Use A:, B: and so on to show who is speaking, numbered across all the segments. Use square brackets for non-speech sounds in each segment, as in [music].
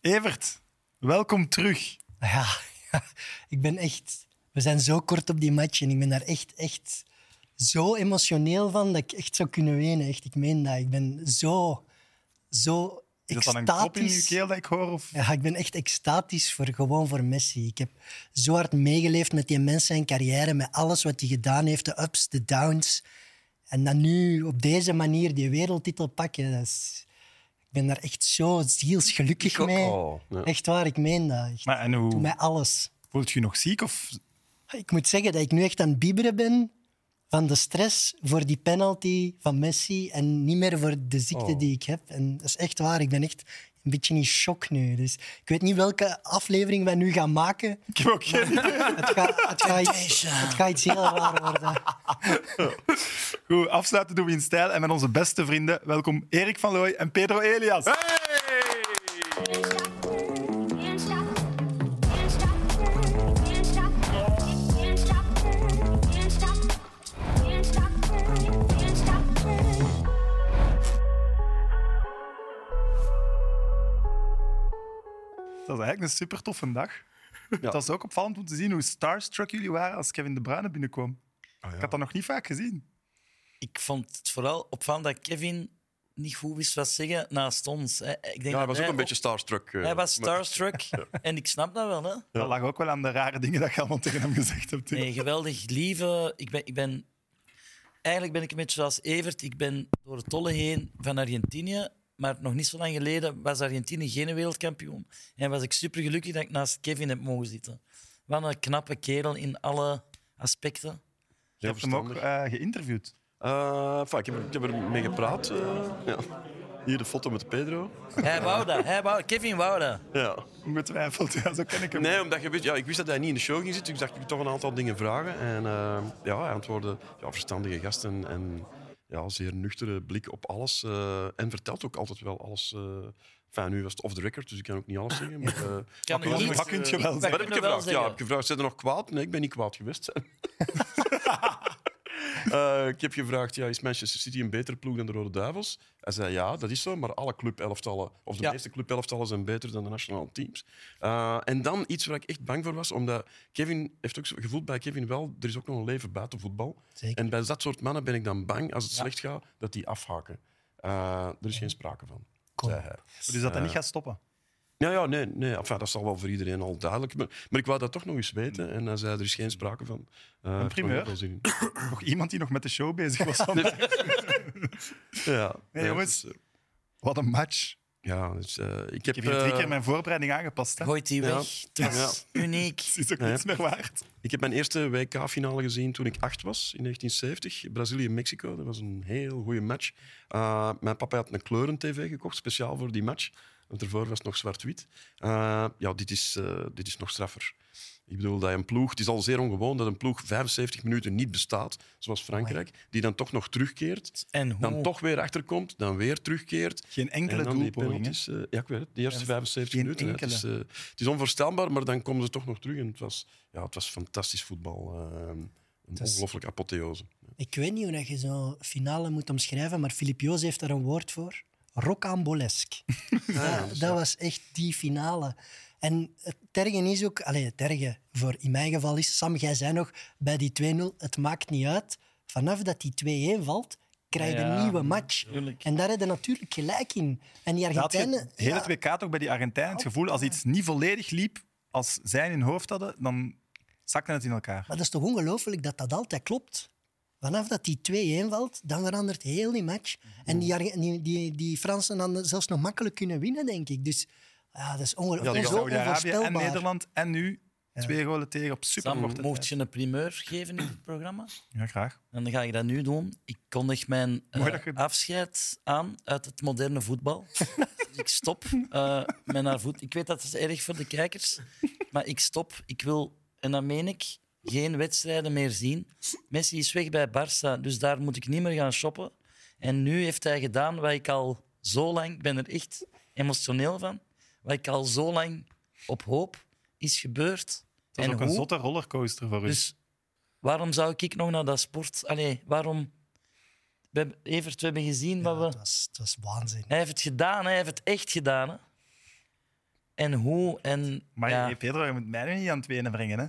A: Evert, welkom terug.
B: Nou Ja, [laughs] ja, ik ben echt... We zijn zo kort op die match en ik ben daar echt, echt zo emotioneel van dat ik echt zou kunnen wenen. Echt, ik meen dat. Ik ben zo, zo
A: Is dat
B: extatisch.
A: dan een kop in je keel dat ik hoor? Of...
B: Ja, ik ben echt extatisch voor, gewoon voor Messi. Ik heb zo hard meegeleefd met die mensen en carrière, met alles wat hij gedaan heeft, de ups, de downs. En dan nu op deze manier die wereldtitel pakken, dat is- ik ben daar echt zo zielsgelukkig mee.
C: al. Ja.
B: Echt waar, ik meen dat. Echt.
A: Maar, en
B: Doe
A: hoe
B: mij alles.
A: voelt je je nog ziek? Of...
B: Ik moet zeggen dat ik nu echt aan het bieberen ben van de stress voor die penalty van Messi en niet meer voor de ziekte die ik heb. En dat is echt waar. Ik ben echt een beetje in shock nu. Dus ik weet niet welke aflevering wij nu gaan maken.
A: Ik heb ook geen idee.
B: Het gaat, het gaat, iets, het gaat iets heel raar worden.
A: Goed, afsluiten doen we in stijl. En met onze beste vrienden, welkom Erik van Looy en Pedro Elias.
D: Can't stop, can't stop, can't stop, can't stop, can't stop, can't stop, can't stop, can't stop.
A: Dat is eigenlijk een super toffe dag. Het was ook opvallend om te zien hoe starstruck jullie waren als Kevin De Bruyne binnenkwam. Ik had dat nog niet vaak gezien.
E: Ik vond het vooral opvallend dat Kevin niet goed wist wat zeggen naast ons. Hè. Ik denk
C: Ja,
E: dat
C: hij was ook een beetje starstruck. eh,
E: Hij was
C: maar- [laughs]
E: starstruck en ik snap dat wel. Hè.
A: Dat lag ook wel aan de rare dingen dat je allemaal tegen hem gezegd hebt.
E: Nee, geweldig lieve. Ik ben, ik ben, eigenlijk ben ik een beetje zoals Evert. Ik ben door het tolle heen van Argentinië. Maar nog niet zo lang geleden was Argentinië geen wereldkampioen. En was ik supergelukkig dat ik naast Kevin heb mogen zitten. Wat een knappe kerel in alle aspecten.
A: Je
C: Heel
A: hebt hem ook
C: verstandig.
A: eh, geïnterviewd.
C: Eh, enfin, ik, heb, ik heb er mee gepraat. eh, ja. Hier de foto met Pedro.
E: Hij wou dat. Hij wou, Kevin wou dat.
C: Ja.
A: Ongetwijfeld, ja, zo ken ik hem.
C: Nee, omdat je wist, ja, ik wist dat hij niet in de show ging zitten. Dus ik dacht, ik moet toch een aantal dingen vragen. En eh, ja, hij antwoordde, ja, verstandige gast en, en ja, zeer nuchtere blik op alles. eh, en vertelt ook altijd wel alles. eh enfin, nu was het off the record, dus ik kan ook niet alles
E: [laughs]
C: zeggen. Maar, eh,
E: Kan
C: wat-
E: niet.
C: wat-
A: Wat kun je wel
E: Ik-
A: zeggen?
C: Wat heb ik
E: kunnen wel
C: gevraagd? Ja,
E: zeggen.
C: heb ik gevraagd, zijn er nog kwaad? Nee, ik ben niet kwaad geweest. [laughs] Eh, ik heb gevraagd, ja, is Manchester City een betere ploeg dan de Rode Duivels? Hij zei, ja, dat is zo, maar alle clubelftallen, of de
E: Ja.
C: meeste clubelftallen zijn beter dan de nationale teams. Eh, en dan iets waar ik echt bang voor was, omdat Kevin heeft ook zo- gevoeld bij Kevin wel, er is ook nog een leven buiten voetbal.
B: Zeker.
C: En bij dat soort mannen ben ik dan bang, als het slecht gaat, dat die afhaken. Eh, er is geen sprake van,
B: Kom.
C: zei hij.
A: Dus dat hij niet gaat stoppen.
C: Ja, ja, nee, nee. Enfin, dat zal wel voor iedereen al duidelijk. Maar, maar ik wou dat toch nog eens weten. En hij zei, er is geen sprake van. Eh, ik vond
A: Mm. primeur.
C: het wel zin in.
A: Nog iemand die nog met de show bezig was. vandaag.
C: [laughs] Ja.
A: Nee,
C: Ja,
A: jongens.
C: dus, eh,
A: Wat een match.
C: ja, dus, eh, ik
A: Ik
C: heb...
A: heb hier drie
C: eh,
A: keer mijn voorbereiding aangepast. Hè?
E: Gooit die
C: Ja.
E: weg. Het was uniek.
A: Het [laughs] is ook
C: Ja.
A: niets meer waard.
C: Ik heb mijn eerste WK-finale gezien toen ik acht was, in 1970. Brazilië-Mexico, dat was een heel goede match. Uh, mijn papa had een kleuren-tv gekocht, speciaal voor die match. Want ervoor was het nog zwart-wit. Uh, ja, dit is, eh, dit is nog straffer. Ik bedoel, dat een ploeg, het is al zeer ongewoon dat een ploeg 75 minuten niet bestaat, zoals Frankrijk, die dan toch nog terugkeert,
E: En hoe?
C: dan toch weer achterkomt, dan weer terugkeert.
A: Geen
C: En
A: enkele
C: dan die
A: doelpoging. hè?
C: penalties, eh, ja, ik weet het. De eerste
A: Ja,
C: 75
A: geen
C: minuten. hè. Het is, eh, het is onvoorstelbaar, maar dan komen ze toch nog terug. En het was, ja, het was fantastisch voetbal. eh, een
B: is-
C: ongelooflijke apotheose.
B: Ik weet niet hoe dat je zo'n finale moet omschrijven, maar Filip Joos heeft daar een woord voor. Rocambolesk. dat, dat was echt die finale. En het tergen is ook... Allee, het tergen voor in mijn geval is... Sam, jij zei nog bij die 2-0, het maakt niet uit. Vanaf dat die 2-1 valt, krijg je
E: Ja,
B: een nieuwe match.
E: tuurlijk.
B: En daar heb je natuurlijk gelijk in. En die
A: Dat had je
B: Argentijnen...
A: heel
B: ja,
A: het WK toch bij die Argentijnen
E: Oh.
A: het gevoel, als iets niet volledig liep, als zij in hun hoofd hadden, dan zakte het in elkaar.
B: Maar dat is toch ongelooflijk dat dat altijd klopt? Vanaf dat die 2-1 valt, dan verandert heel die match. En die, Arge- die, die, die Fransen dan zelfs nog makkelijk kunnen winnen, denk ik. Dus ja, dat is onge-
C: Ja, die
B: zo
A: Saudi-Arabië en
B: onvoorstelbaar.
A: Nederland en nu twee golen tegen op superkorte
E: Sam, mocht
A: tijd.
E: je een primeur geven in dit programma?
A: Ja, graag.
E: En dan ga ik dat nu doen. Ik kondig mijn eh,
A: Mooi dat je-
E: afscheid aan uit het moderne voetbal. Dus ik stop eh, met naar voet. Ik weet dat het erg voor de kijkers maar ik stop. Ik wil, en dat meen ik, geen wedstrijden meer zien. Messi is weg bij Barça, dus daar moet ik niet meer gaan shoppen. En nu heeft hij gedaan wat ik al zo lang, ik ben er echt emotioneel van, wat ik al zo lang op hoop is gebeurd.
A: Dat is
E: en
A: ook een
E: hoe.
A: zotte rollercoaster voor u.
E: Dus waarom zou ik nog naar dat sport? Allee, waarom? We hebben, Evert, we hebben gezien
B: Ja,
E: wat
B: het,
E: we.
B: was, het was waanzin.
E: Hij heeft het gedaan, hij heeft het echt gedaan. Hè? en hoe. En,
A: Maar
E: ja.
A: hey, Pedro, je moet mij nu niet aan het wenen brengen. Hè?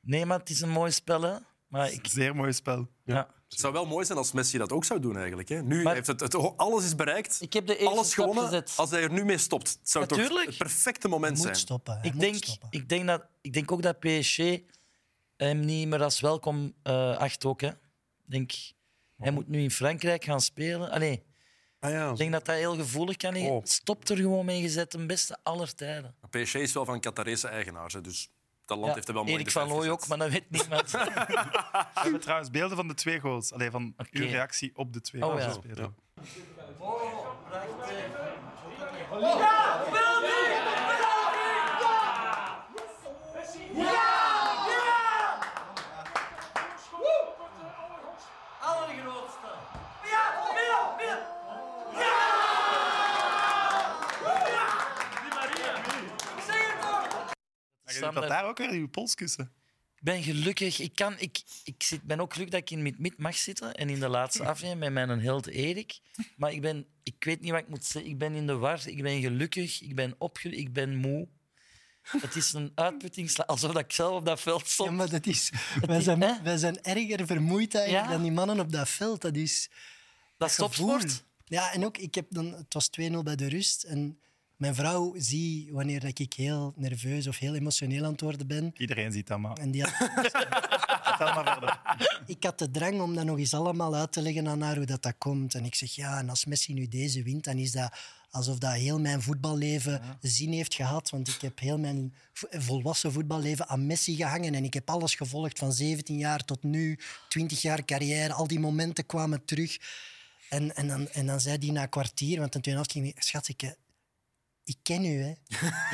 E: Nee, maar het is een mooi spel, hè. Maar ik,
A: Zeer mooi spel.
E: ja.
F: Het zou wel mooi zijn als Messi dat ook zou doen, eigenlijk. Hè? Nu
E: Maar-
F: heeft het, het, alles is bereikt.
E: ik heb de eerste
F: Alles
E: stap
F: gewonnen.
E: gezet.
F: Als hij er nu mee stopt, het zou toch
E: Natuurlijk.
F: het perfecte moment
B: Moet
F: zijn.
B: stoppen. Hij
E: Ik
B: moet
E: denk,
B: stoppen.
E: ik, denk dat, ik denk ook dat PSG hem niet meer als welkom eh, acht ook. Hè. Ik denk, hij moet nu in Frankrijk gaan spelen. Allee,
C: Ah ja,
E: ik denk dat dat heel gevoelig kan liggen.
C: Oh.
E: Stop er gewoon mee, je zet hem beste aller tijden.
F: PSG is wel van Qatarese eigenaar, hè, dus dat land
E: Ja,
F: heeft er wel mooi in
E: Erik
F: de
E: van
F: verf
E: Looy
F: gezet.
E: ook, maar dat weet
F: [laughs]
E: niemand.
A: We hebben trouwens beelden van de twee goals. Alleen van uw
E: Oké.
A: reactie op de twee
E: Oh,
A: goals.
E: ja.
A: dus, Pedro. Maar je doet dat
E: Standaard.
A: daar ook weer in je polskussen.
E: Ik ben gelukkig. Ik, kan, ik, ik zit, ben ook gelukkig dat ik in mid-mid mag zitten en in de laatste aflevering met mijn held Erik. Maar ik, ben, ik weet niet wat ik moet zeggen. Ik ben in de war, ik ben gelukkig, ik ben opge, ik ben moe. Het is een uitputtingsslag, alsof dat ik zelf op dat veld
B: Ja,
E: stond.
B: maar dat
E: [laughs]
B: is, wij,
E: is-
B: zijn,
E: hè?
B: wij zijn erger vermoeid eigenlijk
E: Ja.
B: dan die mannen op dat veld. Dat is
E: Dat is topsport.
B: gevoel. Ja, en ook, ik heb dan, het was 2-0 bij de rust. En mijn vrouw zie wanneer dat ik heel nerveus of heel emotioneel aan het worden ben.
A: Iedereen ziet dat, maar
B: En die had-
A: vertel maar verder.
B: ik had de drang om dat nog eens allemaal uit te leggen aan haar hoe dat, dat komt. En ik zeg, ja, en als Messi nu deze wint, dan is dat alsof dat heel mijn voetballeven zin heeft gehad. Want ik heb heel mijn vo- volwassen voetballeven aan Messi gehangen. En ik heb alles gevolgd van 17 jaar tot nu, 20 jaar carrière. Al die momenten kwamen terug. En, en, dan, en dan zei die na een kwartier, want een tweede helft ging... die, Schat, ik, eh, ik ken u, hè.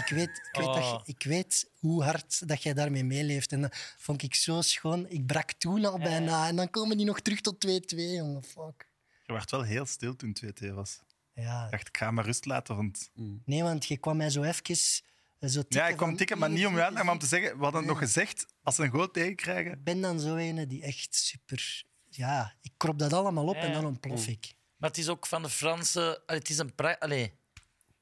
B: Ik weet, ik weet, dat je-
E: Oh.
B: ik weet hoe hard dat jij daarmee meeleeft. En dat vond ik zo schoon. Ik brak toen al bijna. En dan komen die nog terug tot 2-2, jongen. Fuck.
A: Je werd wel heel stil toen 2-2 was. Ik
B: Ja.
A: dacht, ik ga maar rust laten, want...
B: Nee, want je kwam mij zo even... eh, Zo tikken
A: ja, ik
B: van,
A: kwam tikken, maar
B: "Hier,
A: niet om je
B: hier,
A: aandacht, maar om te zeggen... We hadden het nog gezegd, als ze een goal tegenkrijgen...
B: Ik ben dan zo ene die echt super... Ja, ik krop dat allemaal op
E: Ja.
B: en dan ontplof ik.
E: Maar het is ook van de Fransen. allee, Het is een pra- allee,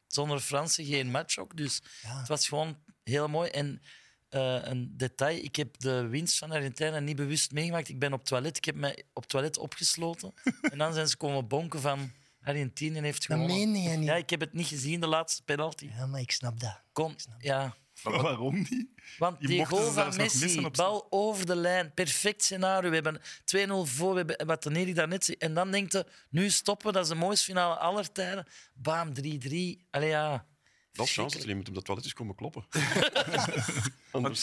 E: zonder Fransen geen match ook. Dus
B: Ja.
E: het was gewoon heel mooi. En eh, een detail: ik heb de winst van Argentinië niet bewust meegemaakt. Ik ben op toilet, ik heb me op
B: [laughs]
E: toilet opgesloten. en dan zijn ze komen bonken van Argentinië heeft
B: Dat
E: gewonnen.
B: meen je niet.
E: Ja, ik heb het niet gezien, de laatste penalty.
B: Ja, maar ik snap dat.
E: Kon, ja.
A: Maar waarom niet?
E: Want
A: Je
E: die
A: mocht ze
E: goal van
A: zelfs nog missen
E: Messi,
A: op- [laughs]
E: bal over de lijn, perfect scenario. We hebben 2-0 voor, we hebben, wat de Erik daarnet zei. En dan denkt hij, nu stoppen, we, dat is de mooiste finale aller tijden. Bam, 3-3. Allee, ja.
C: dat is chance dat je moet op dat toilet eens komen kloppen. [laughs] Anders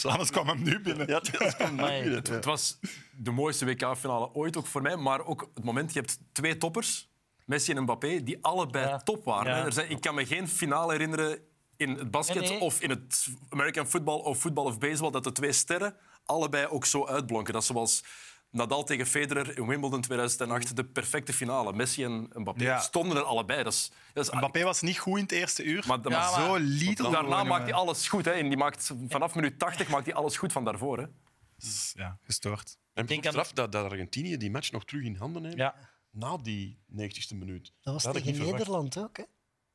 A: [laughs]
C: zou-
A: Anders kwam hem nu binnen.
C: Ja, dat [laughs] kan
E: Amai.
C: niet. Ja.
F: Het was de mooiste WK-finale ooit, ook voor mij. Maar ook het moment, je hebt twee toppers, Messi en Mbappé, die allebei
E: Ja.
F: top waren.
E: Ja.
F: Er zijn, ik kan me geen finale herinneren in het basket
E: Nee, nee.
F: of in het American football of voetbal of baseball, dat de twee sterren allebei ook zo uitblonken. Dat is zoals Nadal tegen Federer in Wimbledon 2008, de perfecte finale. Messi en Mbappé
A: Ja.
F: stonden er allebei. Dat is, dat is
A: Mbappé was niet goed in het eerste uur,
F: Maar-
A: maar,
F: maar-
A: zo liet het
F: Daarna
A: gewoon, jongen.
F: maakt hij alles goed. Hè. En die maakt, vanaf minuut 80 maakt hij alles goed van daarvoor. Hè.
A: Ja, gestoord.
C: En
E: Denk
C: denk
E: aan-
C: straf dat, dat Argentinië die match nog terug in handen neemt
E: Ja.
C: na die 90ste minuut.
B: Dat was
C: had ik
B: tegen
C: niet verwacht.
B: Nederland ook, hè.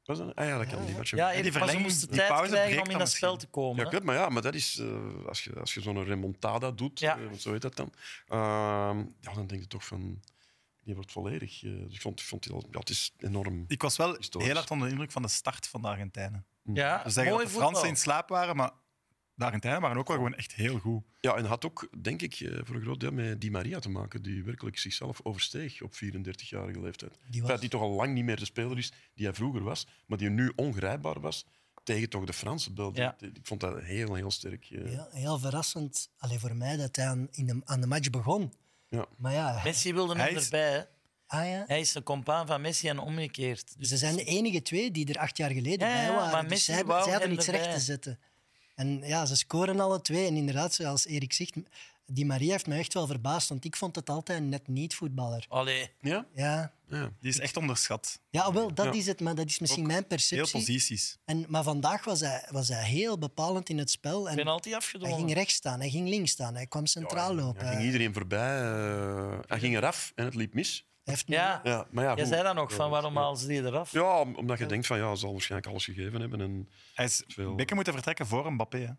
C: Was dat? Ah ja, dat kan die match ook.
E: Ja,
C: Ja,
E: Erik, maar ze
A: verlenging,
E: moesten
A: die
E: tijd
A: pauze
E: krijgen
A: breekt
E: om in
A: dan
E: dat spel te komen. hè.
C: klopt, maar ja, maar dat is, eh, als je, als je zo'n remontada doet,
E: Ja.
C: eh, want zo heet dat dan, ehm, ja, dan denk je toch van, die wordt volledig. eh, dus ik vond, ik vond die al, ja, het is enorm.
A: Ik was wel
C: Historisch.
A: heel hard onder de indruk van de start van de Argentijnen.
E: ja,
A: Ze zeggen dat
E: mooi
A: de Fransen in
E: voetbal.
A: slaap waren, maar de Argentijnen waren ook wel gewoon echt heel goed.
C: Ja, en had ook, denk ik, eh, voor een groot deel met Di Maria te maken, die werkelijk zichzelf oversteeg op 34-jarige leeftijd.
B: Die
C: Die,
B: was-
C: die toch al lang niet meer de speler is die hij vroeger was, maar die nu ongrijpbaar was tegen toch de Franse beelden.
E: Ja.
C: Ik vond dat heel, heel sterk. eh.
B: Ja, heel verrassend. Alleen voor mij dat hij aan, in de, aan de match begon.
C: Ja.
B: Maar ja,
E: Messi wilde hem
A: Hij is-
E: erbij. hè.
B: ah ja.
E: Hij is de compaan van Messi en omgekeerd. Dus
B: ze zijn de enige twee die er acht jaar geleden
E: Ja, ja,
B: bij waren.
E: maar
B: dus
E: Messi
B: zij,
E: wou
B: zij hadden
E: hem
B: iets
E: erbij.
B: recht te zetten. En ja, ze scoren alle twee. En inderdaad, zoals Erik zegt, die Maria heeft mij echt wel verbaasd, want ik vond het altijd een net niet voetballer.
E: Allee,
C: Ja?
B: Ja,
C: Ja.
A: Die is echt onderschat.
B: ja wel, dat
C: Ja.
B: is het, maar dat is misschien mijn
A: Heel
B: perceptie.
A: posities.
B: En, maar vandaag was hij, was hij heel bepalend in het spel. En
E: penalty
B: hij ging
E: afgedwongen.
B: rechts staan, hij ging links staan, hij kwam centraal
C: Ja,
B: lopen.
C: Hij ging iedereen voorbij. eh, hij ging eraf en het liep mis.
B: heeft nu-
E: Ja,
C: Ja, maar ja,
E: jij
C: goed.
E: zei dat nog,
C: Ja,
E: van waarom halen ze die eraf?
C: Ja, om- omdat je denkt van ja, ze zal waarschijnlijk alles gegeven hebben. En,
A: Hij is,
C: Veel-
A: Becker moet vertrekken voor Mbappé. Hè.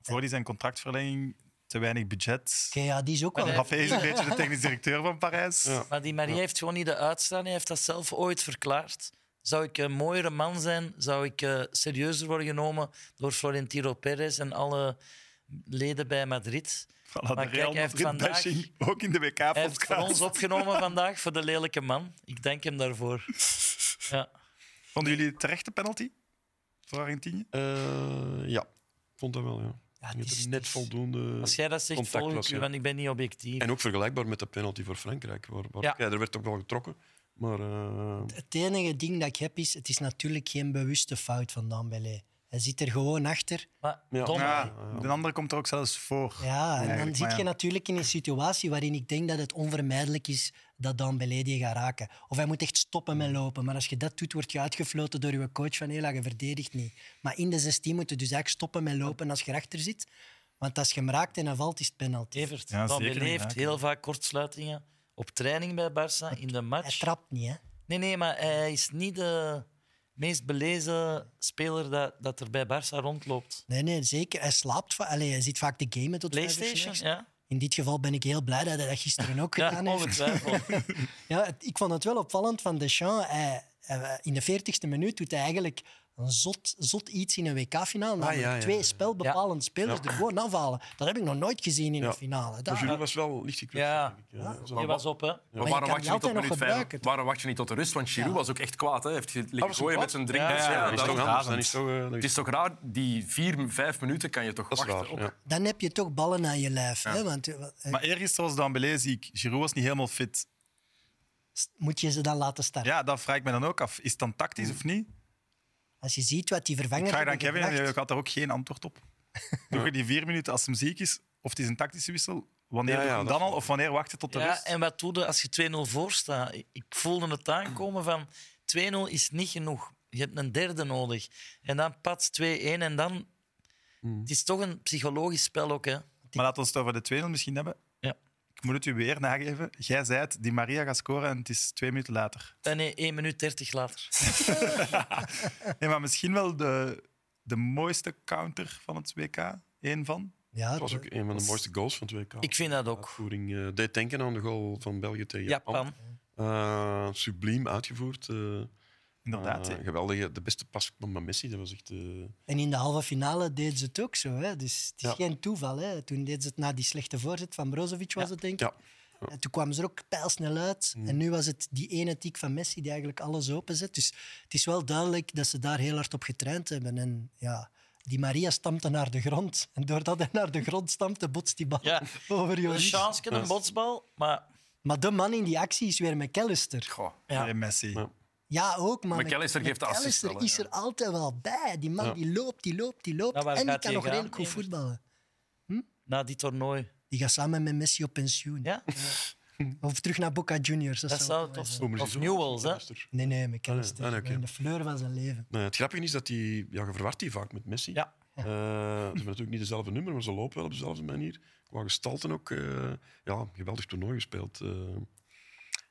A: Voor die zijn contractverlenging, te weinig budget.
B: Oké, ja, die is ook wel...
E: Maar
A: Mbappé is een beetje de technisch directeur van Parijs.
C: Ja.
E: Maar die Marie heeft gewoon niet de uitstraling. Hij heeft dat zelf ooit verklaard. Zou ik een mooiere man zijn? Zou ik eh, serieuzer worden genomen door Florentino Perez en alle leden bij Madrid?
A: Voilà,
E: Maar
A: de
E: kijk,
A: Real
E: hij heeft
A: Madrid
E: vandaag-
A: bashing, ook in de
E: Hij heeft voor ons
A: WK-podcast.
E: opgenomen vandaag voor de lelijke man. Ik denk hem daarvoor. Ja.
A: Vonden jullie het terechte penalty voor Argentinië?
C: eh, ja, vond dat wel, ja.
B: Ja,
C: Je
B: Ah, het
C: hebt
B: is-
C: er net voldoende...
E: Als jij dat zegt,
C: Contact
E: volg
C: was,
E: ik u,
C: ja.
E: want ik ben niet objectief.
C: En ook vergelijkbaar met de penalty voor Frankrijk. Waar, waar...
E: Ja.
C: Ja. er werd ook wel getrokken. Maar eh,
B: Het enige ding dat ik heb is, het is natuurlijk geen bewuste fout van Dembélé. Hij zit er gewoon achter.
E: Maar
C: Ja.
E: Tom,
A: Ja, de andere komt er ook zelfs voor.
B: Ja, en dan
A: Eigenlijk, maar
B: zit je
A: ja.
B: natuurlijk in een situatie waarin ik denk dat het onvermijdelijk is dat Dembélé die gaat raken. Of hij moet echt stoppen met lopen. Maar als je dat doet, word je uitgefloten door je coach van hela, je verdedigt niet. Maar in de 16 moet je dus eigenlijk stoppen met lopen als je erachter zit. Want als je hem raakt en hij valt, is het penalty.
E: Evert,
A: Ja,
E: dan
A: zeker niet
E: beleeft
A: raken.
E: heel vaak kortsluitingen op training bij Barça, in de
B: Hij
E: match.
B: trapt niet, hè?
E: Nee, nee, maar hij is niet de meest belezen speler dat, dat er bij Barça rondloopt.
B: Nee, nee, zeker. Hij slaapt. va- Allee, hij zit vaak de gamen tot vijf uur
E: PlayStation,
B: s'nachts.
E: ja.
B: In dit geval ben ik heel blij dat hij dat gisteren ook
E: Ja,
B: gedaan heeft.
E: [laughs] ongetwijfeld.
B: Ja, het- ik vond het wel opvallend van Deschamps. Hij, hij- in de 40ste minuut doet hij eigenlijk een zot, zot iets in een WK-finale. namelijk
C: Ah, ja, ja,
B: twee
C: ja.
B: spelbepalende spelers er gewoon afhalen. Dat heb ik nog nooit gezien in
C: Ja. Dus
B: een finale.
C: maar
B: Daar-
C: Julie was wel licht gekwetst.
E: Ja.
C: denk ik. Ja, zo.
E: Die was op, hè.
B: je
F: Maar waarom
B: kan die
F: wacht, je niet
B: altijd
F: tot
B: nog
F: minuut
B: gebruiken,
F: vijf?
B: toch?
F: waarom wacht je niet tot de rust? Want Giroud was ook echt kwaad. Hè? Heeft ge- liggen
C: was
F: gooien
C: kwaad?
F: met zijn drie.
E: Ja,
F: Ja,
E: ja,
C: Ja, dat is
F: daarom.
C: toch anders. Dan is toch, eh,
F: Het is toch raar, die vier, vijf minuten kan je toch
C: dat is
F: wachten
C: raar.
F: op.
C: Ja.
B: Dan heb je toch ballen aan je lijf. Hè? Want, eh, wat- eh,
A: Maar eergisteren was Dembélé ziek. Giroud was niet helemaal fit.
B: st- moet je ze dan laten starten?
A: Ja, dat vraag ik me dan ook af. Is het dan tactisch
E: Mm.
A: of niet?
B: Als je ziet wat die vervangers
A: Ik vraag dan
B: hebben
A: Kevin, en
B: gebracht-
A: ik had daar ook geen antwoord op. Doe je die vier minuten als hem ziek is, of het is een tactische wissel, wanneer
C: Ja,
A: doe je
C: ja,
A: hem
C: dat
A: dan
C: is
A: al, of wanneer wacht je tot de
E: Ja,
A: rust?
E: en wat doe je als je 2-0 voor staat? Ik ik voelde het aankomen van 2-0 is niet genoeg. Je hebt een derde nodig. En dan pats 2-1 en dan... Het is toch een psychologisch spel ook, hè.
A: Maar laten we het over de 2-0 misschien hebben.
E: Ja.
A: Ik moet het u weer nageven. Jij zei het, die Maria gaat scoren en het is twee minuten
E: [laughs]
A: later.
E: Eh, Nee, 1 minuut 30 later.
A: Nee, maar misschien wel de, de mooiste counter van het WK. Eén van.
B: Ja,
C: Dat was ook een van de mooiste goals van 2K.
E: Ik vind dat ook.
C: Voering eh, deed denken aan de goal van België tegen
E: Japan.
C: Eh, subliem uitgevoerd. eh,
A: Inderdaad.
C: eh, geweldige, de beste pas van Messi. Dat was echt. eh,
B: En in de halve finale deed ze het ook zo. Hè? Dus het is
C: Ja.
B: geen toeval. Hè? Toen deed ze het na die slechte voorzet van Brozovic, was het denk ik.
C: Ja.
B: En toen kwamen ze er ook pijlsnel uit.
F: Mm.
B: En nu was het die ene tik van Messi die eigenlijk alles openzet. Dus het is wel duidelijk dat ze daar heel hard op getraind hebben. En ja, die Maria stampte naar de grond. [laughs] En doordat hij naar de grond stampte, botst die bal
E: Ja.
B: over
E: Een
B: Joris.
E: chance, een botsbal, maar...
B: Maar de man in die actie is weer McAllister.
F: Goh.
A: ja.
E: ja.
A: Nee, Messi.
C: Ja.
B: Ja, ook, maar
F: McAllister geeft de assist
B: McAllister
F: wel, hè,
B: is
F: ja.
B: er altijd wel bij. Die man die loopt, die loopt, die loopt.
E: Ja, waar
B: en die
E: gaat
B: kan
E: hij
B: nog
E: gaan,
B: redelijk goed
E: Evert?
B: voetballen.
E: Na dit toernooi.
B: Die gaat samen met Messi op pensioen.
E: Ja?
B: Of terug naar Boca Juniors. Dat,
E: Dat
B: zou
E: zou tof
C: oh,
E: zijn.
C: maar
E: Of
C: zo-
E: Newells, hè?
C: Luister.
B: Nee, nee, McAllister.
C: Ah, nee, oké.
B: In de fleur van zijn leven.
C: Nee, Eh, het grappige is dat die. Ja, je verwart die vaak met Messi.
E: Ja.
C: Eh, ze hebben natuurlijk niet dezelfde nummer, maar ze lopen wel op dezelfde manier. Qua gestalten ook. eh, ja, geweldig toernooi gespeeld. eh.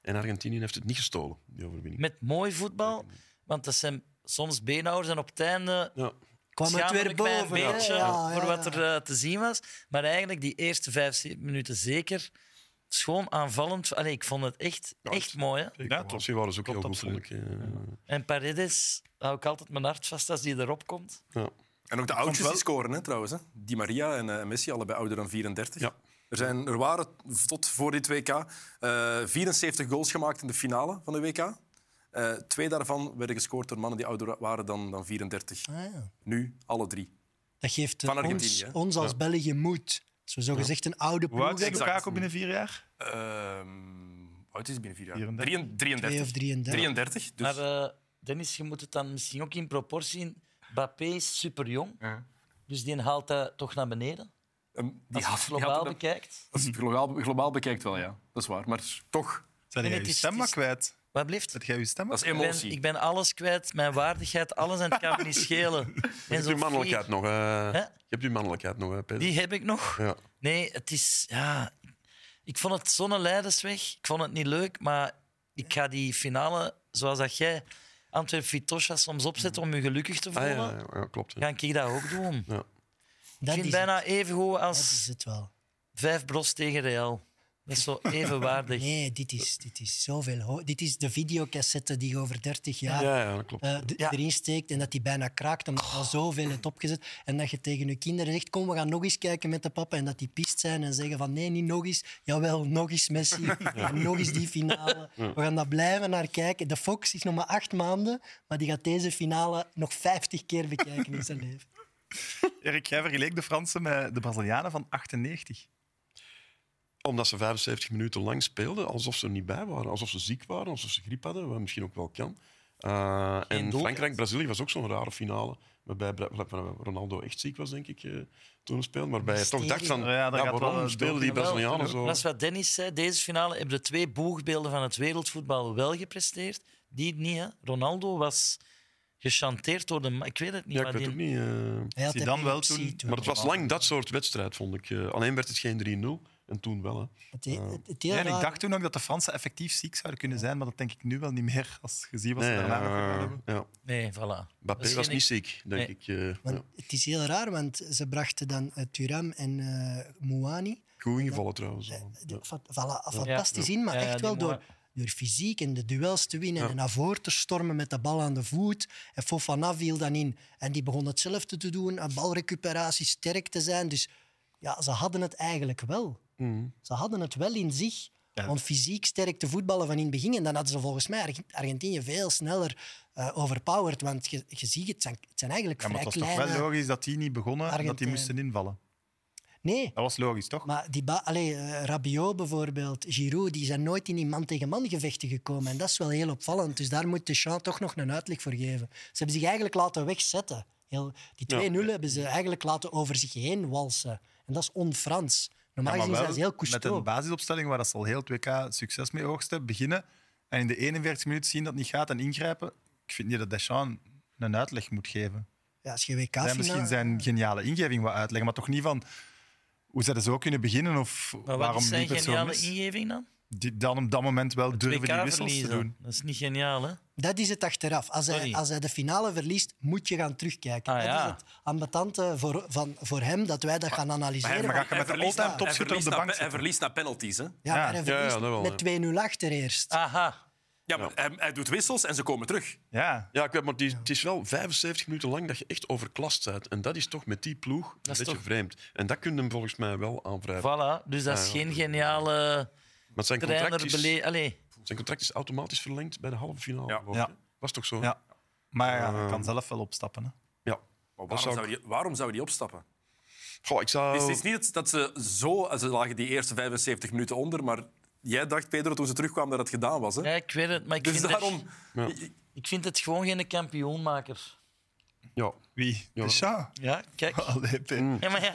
C: en Argentinië heeft het niet gestolen, die overwinning.
E: Met mooi voetbal, want dat zijn soms beenhouders en op het einde
C: Ja,
B: Kwam het
E: schaamde
B: weer
E: ik mij
B: boven.
E: een beetje
B: hè? Ja,
E: voor
B: ja,
E: wat
B: ja.
E: er eh, te zien was. Maar eigenlijk die eerste vijf ze- minuten zeker schoon aanvallend. Allee, ik vond het echt,
C: Ja,
E: echt mooi. Hè?
C: zeker.
A: Ja,
C: Ja,
A: klopt.
C: Ze waren ze ook
A: Klopt,
C: heel goed, vond ik. eh.
E: En Paredes, daar hou ik altijd mijn hart vast als die erop komt.
C: ja.
F: En ook de oudjes
A: wel-
F: die scoren, hè, trouwens. Hè. Di Maria en eh, Messi, allebei ouder dan 34.
C: Ja.
F: Er, zijn, er waren tot voor dit WK eh, 74 goals gemaakt in de finale van de WK. Eh, twee daarvan werden gescoord door mannen die ouder waren dan, dan 34.
B: Ah, ja.
F: Nu alle drie.
B: Dat geeft eh,
F: Van Argentinië,
B: ons,
F: hè?
B: ons als België moed. Zo gezegd een oude
A: Hoe oud
B: ploeg.
A: is
B: hebben.
F: Exact.
A: Lukaku binnen vier jaar?
F: Ehm oud is hij binnen vier jaar?
A: 34.
F: 33.
B: Twee of 33.
F: 33. Dus
E: Maar eh, Dennis, je moet het dan misschien ook in proportie zien. Bappé is super jong,
F: Ja.
E: dus die haalt dat toch naar beneden.
F: ehm, die
E: Als je
F: had-
E: het
F: die had
E: globaal
F: dat-
E: bekijkt.
F: als je het globaal, globaal bekijkt wel, ja. Dat is waar. Maar toch,
A: Zijn
E: Nee,
A: jij
E: het
A: je
E: is-
A: stem
E: het
A: maar
E: is-
A: kwijt?
E: Wat blijft?
A: Dat jij je stem maar
F: dat is
E: Ik ben,
F: emotie.
E: ik ben alles kwijt, mijn waardigheid, alles en het kan me niet
C: [laughs]
E: schelen. En
C: Je hebt
E: zo'n
C: uw mannelijkheid
E: vier,
C: nog. eh.
E: Hè?
C: Je hebt uw mannelijkheid nog, hè, Peter.
E: Die heb ik nog.
C: Ja.
E: Nee, het is. Ja, ik vond het zo'n leidersweg. Ik vond het niet leuk, maar ik ga die finale, zoals dat jij Antwerp-Vitosha soms opzet om je gelukkig te
C: Ah,
E: voelen,
C: ja, ja, ja, klopt. ja.
E: ga ik dat ook doen. Ik
B: Dat
E: vind
B: is,
E: bijna
B: het.
E: even goed
B: dat is
E: als
B: het wel.
E: vijf bros tegen Real. Dat is zo evenwaardig.
B: Nee, dit is, dit is zoveel. ho- Dit is de videocassette die je over 30 jaar
C: Ja, ja, dat klopt.
B: eh, d-
E: Ja.
B: erin steekt en dat die bijna kraakt omdat je al zoveel hebt opgezet. En dat je tegen je kinderen zegt, kom, we gaan nog eens kijken met de papa. En dat die pist zijn en zeggen van, nee, niet nog eens. Jawel, nog eens Messi. En nog eens die finale. We gaan daar blijven naar kijken. De Fox is nog maar acht maanden, maar die gaat deze finale nog 50 keer bekijken in zijn leven.
A: Erik, jij vergeleek de Fransen met de Brazilianen van 98.
C: Omdat ze 75 minuten lang speelden, alsof ze er niet bij waren. Alsof ze ziek waren, alsof ze griep hadden, wat misschien ook wel kan. Eh, en
E: doelpunt.
C: Frankrijk-Brazilië was ook zo'n rare finale. Waarbij Bra- waarbij Ronaldo echt ziek was, denk ik, eh, toen hij speelde. Waarbij je toch
B: Mysterie.
C: dacht van,
A: Ja, daar
C: ja,
A: gaat wel
C: waarom
A: een
C: spelen die
A: doelpunt.
C: Brazilianen
E: Wel,
C: zo?
E: Dat is wat Dennis zei. Deze finale hebben de twee boegbeelden van het wereldvoetbal wel gepresteerd. Die niet, hè. Ronaldo was gechanteerd door de... ma- Ik weet het niet.
C: Ja, ik
E: maar
C: weet
E: die-
C: ook niet. eh,
B: Hij had
A: Zidane wel
B: epilepsie
A: toen,
C: Maar het was lang dat soort wedstrijd, vond ik. Eh, alleen werd het geen 3-0. En toen wel, hè.
B: Het, het, het, het heel
A: Ja, en ik
B: raar-
A: dacht toen ook dat de Fransen effectief ziek zouden kunnen zijn, maar dat denk ik nu wel niet meer, als je ziet wat ze
C: Nee,
A: daarna nog
C: eh,
A: gedaan hebben.
C: ja.
E: Nee, voilà.
C: Mbappé
E: Dat is
C: was
E: geen-
C: niet ziek,
E: Nee.
C: denk ik. eh,
B: Want
C: ja.
B: Het is heel raar, want ze brachten dan eh, Thuram en eh Mouani.
C: Goed ingevallen, trouwens. al.
B: De-
C: Ja.
B: fa- voilà, fantastisch
E: Ja.
B: in, maar
E: Ja, ja,
B: echt
E: die
B: wel door,
E: Mouani.
B: door fysiek en de duels te winnen en naar voren te stormen met de bal aan de voet. En Fofana viel dan in en die begon hetzelfde te doen, aan balrecuperatie sterk te zijn. Dus ja, ze hadden het eigenlijk wel. Ze hadden het wel in zich om fysiek sterk te voetballen van in het begin. En dan hadden ze volgens mij Arg- Argentinië veel sneller eh, overpowered, want je, je ziet, het zijn, het zijn eigenlijk
A: Ja, maar
B: vrij
A: het was toch
B: kleine...
A: wel logisch dat die niet begonnen en dat die
B: Argentijnen.
A: moesten invallen.
B: Nee,
A: Dat was logisch, toch?
B: Maar die ba- Allee, eh, Rabiot bijvoorbeeld, Giroud, die zijn nooit in die man-tegen-man gevechten gekomen. En dat is wel heel opvallend. Dus daar moet Deschamps toch nog een uitleg voor geven. Ze hebben zich eigenlijk laten wegzetten. Heel, die 2-0 hebben ze eigenlijk laten over zich heen walsen. En dat is on-Frans. Normaal
A: Ja, maar
B: gezien
A: wel
B: zijn ze heel
A: met een
B: cousteau.
A: basisopstelling waar dat ze al heel het WK succes mee oogsten, beginnen en in de 41 minuten zien dat het niet gaat en ingrijpen. Ik vind niet dat Deschamps een uitleg moet geven.
B: Ja, als je nou- WK
A: Zijn misschien zijn geniale ingeving wat uitleggen, maar toch niet van hoe ze dat zo kunnen beginnen of
E: Maar wat
A: waarom
E: is zijn
A: liep het zo
E: geniale
A: mis.
E: ingeving dan?
A: Die, dan op dat moment wel durven die
E: WK
A: wissels te doen.
E: Dat is niet geniaal, hè?
B: Dat is het achteraf. Als hij,
E: Sorry.
B: als hij de finale verliest, moet je gaan terugkijken.
E: Ah,
B: dat
E: ja.
B: is het ambetante voor, van, voor hem, dat wij dat gaan analyseren.
A: Maar
B: Maar-
A: ga je met de
F: verliest
A: all-time
F: na-
A: topschutter op
F: hij verliest
A: de
F: na-
A: bank
F: Hij
A: zitten?
F: verliest naar penalties. Hè?
B: ja, maar hij
C: Ja, ja,
B: verliest
C: dat wel, ja.
B: met 2-0 achter eerst.
E: Aha.
F: Ja, maar Hij, hij doet wissels en ze komen terug.
A: Ja,
C: Ja, ik weet, maar het is, het is wel 75 minuten lang dat je echt overklast bent. En dat is toch met die ploeg een
E: is
C: beetje
E: toch-
C: vreemd. En dat kun je hem volgens mij wel aanwrijven.
E: Voilà. Dus dat is
C: ja.
E: geen geniale
C: Maar zijn contract,
E: trainer.
C: is,
E: Bele... Allee.
C: zijn contract is automatisch verlengd bij de halve finale.
F: Ja.
C: geloof
A: Ja.
C: ik, hè? Was toch zo?
A: ja. maar ja, hij kan zelf wel opstappen. Hè.
C: Ja.
F: Maar
C: Dat
F: waarom,
C: zou
F: zou die, waarom zou die opstappen?
C: Goh, ik zou...
A: Oh.
F: Het is niet dat- dat ze zo... Ze lagen die eerste 75 minuten onder, maar jij dacht, Pedro, toen ze terugkwamen, dat het gedaan was. Hè?
E: Ja, ik weet het, maar ik,
F: dus
E: vind
F: daarom...
E: het, ik vind het gewoon geen kampioenmaker.
C: Ja. Mm.
A: Wie?
C: Ja.
A: Deschamps?
E: Ja, kijk.
A: Allee, P.
E: Ja, maar ja.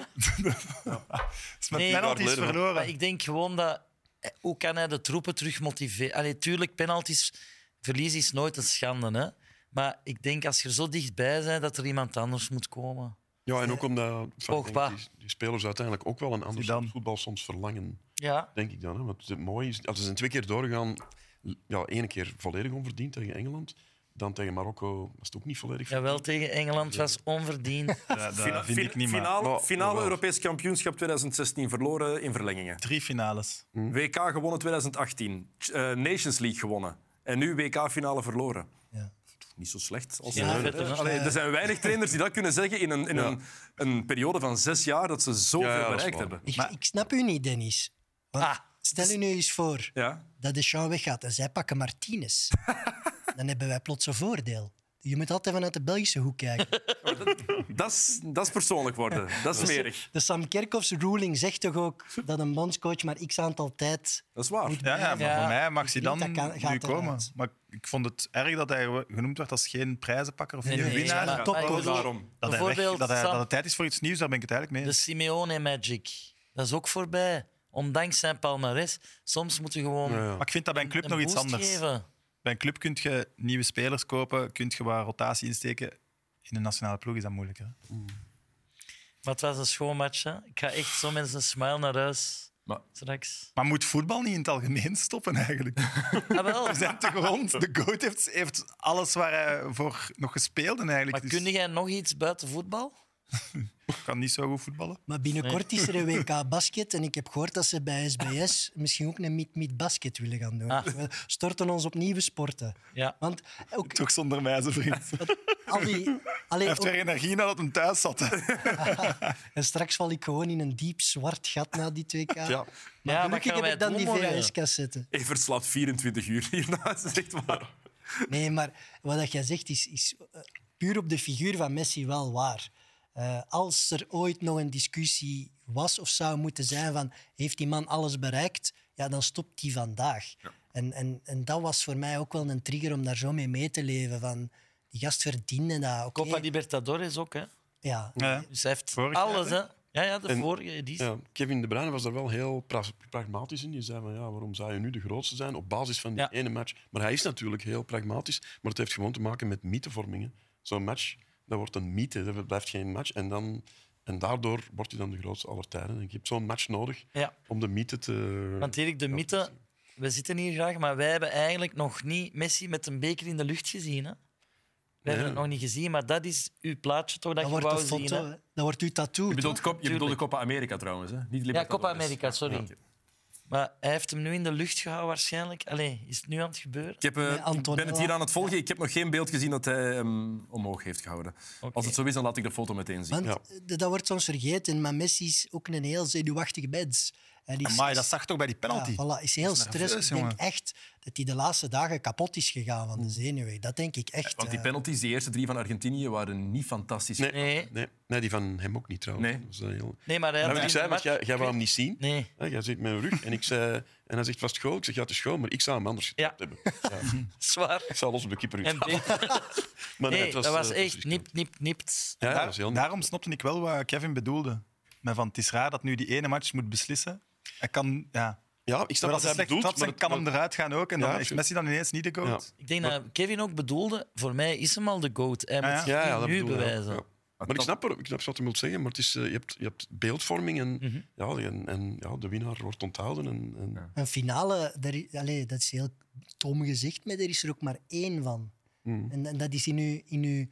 A: Is met
E: Nee,
A: penalties
C: daar leren we.
E: Maar
A: verloren.
E: ik denk gewoon dat... eh, Hoe kan hij de troepen terug motiveren? Allee, tuurlijk, penalties... Verlies is nooit een schande, hè. Maar ik denk, als je er zo dichtbij bent, dat er iemand anders moet komen.
C: ja, en ook omdat enfin, ik
E: Pogba.
C: denk die, die spelers uiteindelijk ook wel een ander
A: Zidane.
C: soort voetbal soms verlangen.
E: Ja.
C: Denk ik dan. Hè? Want het mooie is, als ze zijn twee keer doorgegaan, ja, één keer volledig onverdiend tegen Engeland, dan tegen Marokko was het ook niet volledig
E: Jawel, tegen Engeland was onverdiend.
A: Ja, dat vind
F: Fina-
A: ik niet, maar... Oh,
F: finale,
C: Maar-
F: finale
C: jawel.
F: Europees kampioenschap 2016 verloren in verlengingen.
A: Drie finales.
F: WK gewonnen 2018. Ch- eh, Nations League gewonnen. En nu WK-finale verloren.
B: Ja.
F: Niet zo slecht. Als
E: Ja,
F: Eh,
E: vet, hè?
F: allee, er zijn weinig trainers die dat kunnen zeggen in een, in
C: Ja.
F: een, een periode van zes jaar dat ze zoveel
C: Ja, ja, dat is
F: bereikt
C: waar.
F: hebben.
B: Ik,
A: Maar-
B: ik snap u niet, Dennis. Want
E: [laughs] Ah.
B: stel u nu eens voor
F: Ja.
B: dat Deschamps weggaat en zij pakken Martinez. Dan hebben wij plots een voordeel. Je moet altijd vanuit de Belgische hoek kijken.
F: Dat, is, dat is persoonlijk worden. Dat is merig.
B: De Sam Kerkhoffs ruling zegt toch ook dat een bondscoach maar x aantal tijd...
F: Dat is waar.
A: Ja, ja, maar
E: Ja.
A: voor mij mag hij
B: vind
A: dan
B: dat kan- gaat
A: nu
B: eruit.
A: komen. Maar ik vond het erg dat hij genoemd werd als geen prijzenpakker of
E: Nee,
A: geen
E: nee,
A: winnaar.
E: maar-
F: Ja,
B: top,
F: dat is
E: hoor.
F: daarom.
A: Dat, hij weg-
E: Bijvoorbeeld,
A: dat, hij,
E: Sam-
A: dat het tijd is voor iets nieuws, daar ben ik het eigenlijk
E: De
A: mee.
E: Simeone Magic. Dat is ook voorbij. Ondanks zijn palmares. Soms moet je gewoon
C: Ja, ja.
A: Maar ik vind dat bij een club
E: Dus een
A: nog iets
E: boost
A: anders.
E: geven.
A: Bij een club kun je nieuwe spelers kopen, kun je waar rotatie insteken. In een nationale ploeg is dat moeilijker. hè.
E: Maar het was een schoon match. Hè. Ik ga echt zo met een smile naar huis. straks.
A: Maar moet voetbal niet in het algemeen [laughs] stoppen eigenlijk? [laughs]
E: Ah, wel.
A: We zijn te grond. De GOAT heeft, heeft alles waar hij voor nog gespeeld en eigenlijk
E: Maar
A: dus
E: kun jij nog iets buiten voetbal?
A: kan niet zo goed voetballen.
B: Maar binnenkort is er een WK basket en ik heb gehoord dat ze bij SBS misschien ook een meet-meet basket willen gaan doen.
E: Ah.
B: Dus we storten ons op nieuwe sporten.
E: Ja.
B: Want ook
A: Toch zonder mij, zijn vriend. Hij
B: al die... Allee,
A: heeft
B: ook-
A: weer energie nadat hij thuis zat. hè.
B: en straks val ik gewoon in een diep zwart gat na die
F: [laughs]
B: 2K.
C: Ja.
B: Maar
E: Ja, maar
B: gelukkig
E: gaan
B: heb
E: wij
B: ik dan
E: het
B: die
E: doen morgen?
B: VHS-cassetten.
F: Evert slaapt 24 uur hierna. [laughs] Dat is echt waar.
B: Nee, maar wat dat jij zegt is, is eh, puur op de figuur van Messi wel waar. Eh, als er ooit nog een discussie was of zou moeten zijn van heeft die man alles bereikt, ja, dan stopt die vandaag. En, en, en dat was voor mij ook wel een trigger om daar zo mee mee te leven. Van, die gast verdiende dat. oké.
E: Copa Libertadores ook, hè?
B: Ja,
A: Ja.
E: Dus hij heeft
A: Vorig jaar,
E: alles,
A: hè?
E: hè? Ja, ja, de
C: En-
E: vorige editie.
C: Ja, Kevin De Bruyne was daar wel heel pra- pragmatisch in. Die zei van, ja, waarom zou je nu de grootste zijn op basis van die
E: Ja.
C: ene match? Maar hij is natuurlijk heel pragmatisch, maar het heeft gewoon te maken met mythevormingen. Zo'n match, dat wordt een mythe, dat blijft geen match. En, dan, en daardoor wordt hij dan de grootste aller tijden. En je hebt zo'n match nodig
E: Ja.
C: om de mythe te...
E: Want Erik, de mythe, we zitten hier graag, maar wij hebben eigenlijk nog niet Messi met een beker in de lucht gezien. Hè? We hebben het nog niet gezien, maar dat is uw plaatje toch dat
B: dat
E: je
B: wordt
E: wou
B: de
E: zien.
B: foto. hè.
E: hè?
B: Dat wordt uw tattoo.
F: Je bedoelt, Cop- je bedoelt de
E: Tuurlijk.
F: Copa America trouwens, hè? Niet
E: Ja,
F: Libertadores.
E: Copa America, sorry.
F: Ja, oké.
E: Maar hij heeft hem nu in de lucht gehouden waarschijnlijk. Allee, is het nu aan het gebeuren?
F: Ik heb, eh,
B: Nee,
F: ik
B: Antonella.
F: ben het hier aan het volgen. Ik heb nog geen beeld gezien dat hij hem omhoog heeft gehouden.
E: Oké.
F: Als het zo is, dan laat ik de foto meteen zien.
B: Want eh, dat wordt soms vergeten, maar Messi is ook een heel zenuwachtig mens. Hij is-
A: [laughs] Amai, dat zag toch bij die penalty?
B: Ja, voilà, is heel stress.
A: nerveus,
B: Ik denk
A: jongen.
B: echt dat hij de laatste dagen kapot is gegaan van de zenuwen. Dat denk ik echt.
F: Want die
B: eh.
F: penalties, die eerste drie van Argentinië, waren niet fantastisch.
C: Nee,
E: Nee.
C: nee. Nee, die van hem ook niet trouwens.
F: Nee.
C: Dat was, eh, heel...
E: Nee, maar hij
C: Maar
E: had
C: wat ik
E: in
C: zei,
E: de
C: want
E: match-
C: jij, jij wou hem niet zien.
E: Nee.
C: Hè, jij zit met mijn rug en, ik zei, en hij zegt, was het goal? Ik zeg, ja, het is goal, maar ik zou hem anders
E: Ja.
C: getrapt hebben. Ja.
E: Zwaar.
C: Ik zou los op de keeper
E: En
C: getrapt
E: beter.
C: Maar
E: Nee,
C: het
E: dat was
C: eh,
E: echt
C: riskant.
E: nip, nip, nipt.
C: Ja, dat
A: Daar-
C: was heel nip.
A: daarom snapte ik wel wat Kevin bedoelde. Maar van, het is raar dat nu die ene match moet beslissen. Hij kan, ja.
C: Ja, ik
A: Maar
C: snap wat
A: als hij
C: hij
A: slecht
C: bedoelt.
A: trapt,
C: maar
A: dan
C: het-
A: kan hem
C: maar-
A: eruit gaan ook. En
C: Ja,
A: dan is
C: absoluut.
A: Messi dan ineens niet de goat.
C: Ja.
E: Ik denk dat Kevin ook bedoelde, voor mij is hem al de goat.
A: Ja,
E: Hij moet
A: ja.
E: zich
C: Ja, ja,
E: niet
C: dat
E: nu
C: bedoel ik, ja.
E: bewijzen.
C: Ja. Maar ik snap, er, ik snap wat je wilt zeggen, maar het is, eh, je, hebt, je hebt beeldvorming en, ja, en, en ja, de winnaar wordt onthouden. En, en, ja.
B: Een finale, daar, i- allee, dat is heel dom gezegd, maar er is er ook maar één van.
E: Hmm.
B: En, en dat is in uw, in uw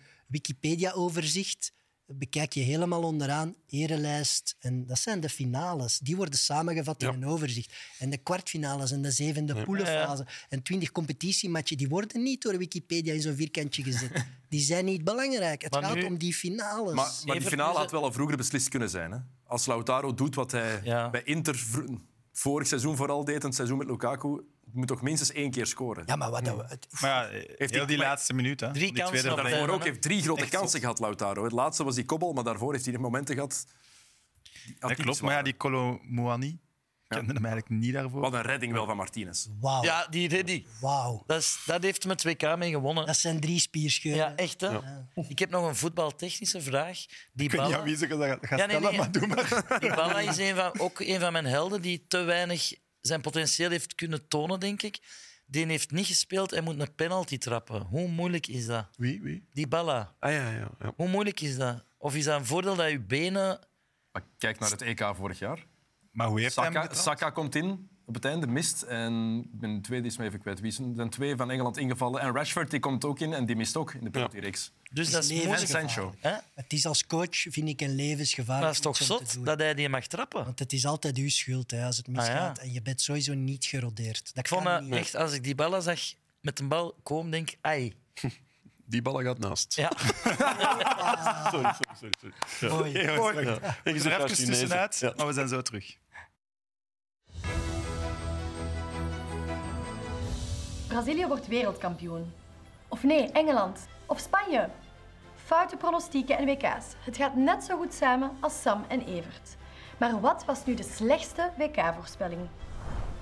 B: Wikipedia-overzicht. Bekijk je helemaal onderaan, erelijst. En dat zijn de finales. Die worden samengevat
C: Ja.
B: in een overzicht. En de kwartfinales en de zevende poelenfase. En twintig competitiematchen, die worden niet door Wikipedia in zo'n vierkantje gezet. die zijn niet belangrijk. Het
E: Maar
B: gaat
E: nu-
B: om die finales.
F: Maar, maar die
E: Evert,
F: finale
E: hoe
F: had
E: ze-
F: wel al vroeger beslist kunnen zijn. Hè? Als Lautaro doet wat hij
E: Ja.
F: bij Inter vro- vorig seizoen vooral deed, en het seizoen met Lukaku, moet toch minstens één keer scoren.
B: ja, maar wat... dat we- het-
A: Maar ja, eh, heel
F: hij-
A: die laatste minuut. Hè.
E: Drie
A: Die
E: kansen
A: tweede
E: op
A: vrije-
E: de-
F: Daarvoor
E: Ja,
F: ook
E: hè?
F: heeft drie grote
A: Echt
F: kansen gehad, Lautaro. Het laatste was die kobbel, maar daarvoor heeft hij nog momenten gehad. die
A: Dat
F: atypisch
A: klopt, maar ja,
F: waren.
A: die Colo Muani kende hem eigenlijk niet daarvoor.
F: Wat een redding wel van Martinez.
B: Wauw.
E: Ja, die ready.
B: Wauw.
E: Dat, is, dat heeft hem het WK mee gewonnen.
B: Dat zijn drie spierscheuren.
E: Ja, echt hè. Ik heb nog een voetbaltechnische vraag. Die
A: Ik weet niet
E: Balla,
A: aan wie ze gaan gaan
E: Ja,
A: stellen,
E: nee, nee.
A: maar doe maar.
E: die Balla is een van, ook een van mijn helden die te weinig zijn potentieel heeft kunnen tonen, denk ik. Die heeft niet gespeeld en moet een penalty trappen. Hoe moeilijk is dat?
C: Wie? Wie?
E: Die Balla,
C: Ah ja, ja. ja.
E: hoe moeilijk is dat? Of is dat een voordeel dat je benen...
F: Maar kijk naar het EK vorig jaar.
A: Maar hoe heeft hij hem
F: Saka,
A: getrapt?
F: Saka komt in op het einde, mist. En ik ben de tweede is me even kwijt. Wie zijn er zijn twee van Engeland ingevallen? En Rashford die komt ook in en die mist ook in de penaltyreeks.
E: Dus dat is
B: leven.
F: En
E: moeilijk.
B: Levensgevaar.
F: Sancho.
E: Hè?
B: Het is als coach, vind ik, een levensgevaar.
E: Maar dat is
B: om
E: toch
B: zo te
E: zot
B: doen.
E: dat hij die mag trappen?
B: Want het is altijd uw schuld hè, als het misgaat. En je bent sowieso niet gerodeerd. Dat
E: Ik vond
B: kan
E: dat
B: niet.
E: echt, als ik die Balla zag met een bal komen, denk ik, ai.
C: Die ballen gaat naast.
E: Ja.
C: Sorry, sorry, sorry. sorry. Ja.
B: Mooi.
A: Heel slecht.
C: Ja. En je
A: We
C: zegt
A: zijn er
C: daar
A: even
C: Chinezen.
A: tussenuit,
C: Ja.
A: maar we zijn zo terug.
G: Brazilië wordt wereldkampioen. Of nee, Engeland. Of Spanje. Foute pronostieken en WK's. Het gaat net zo goed samen als Sam en Evert. Maar wat was nu de slechtste WK-voorspelling?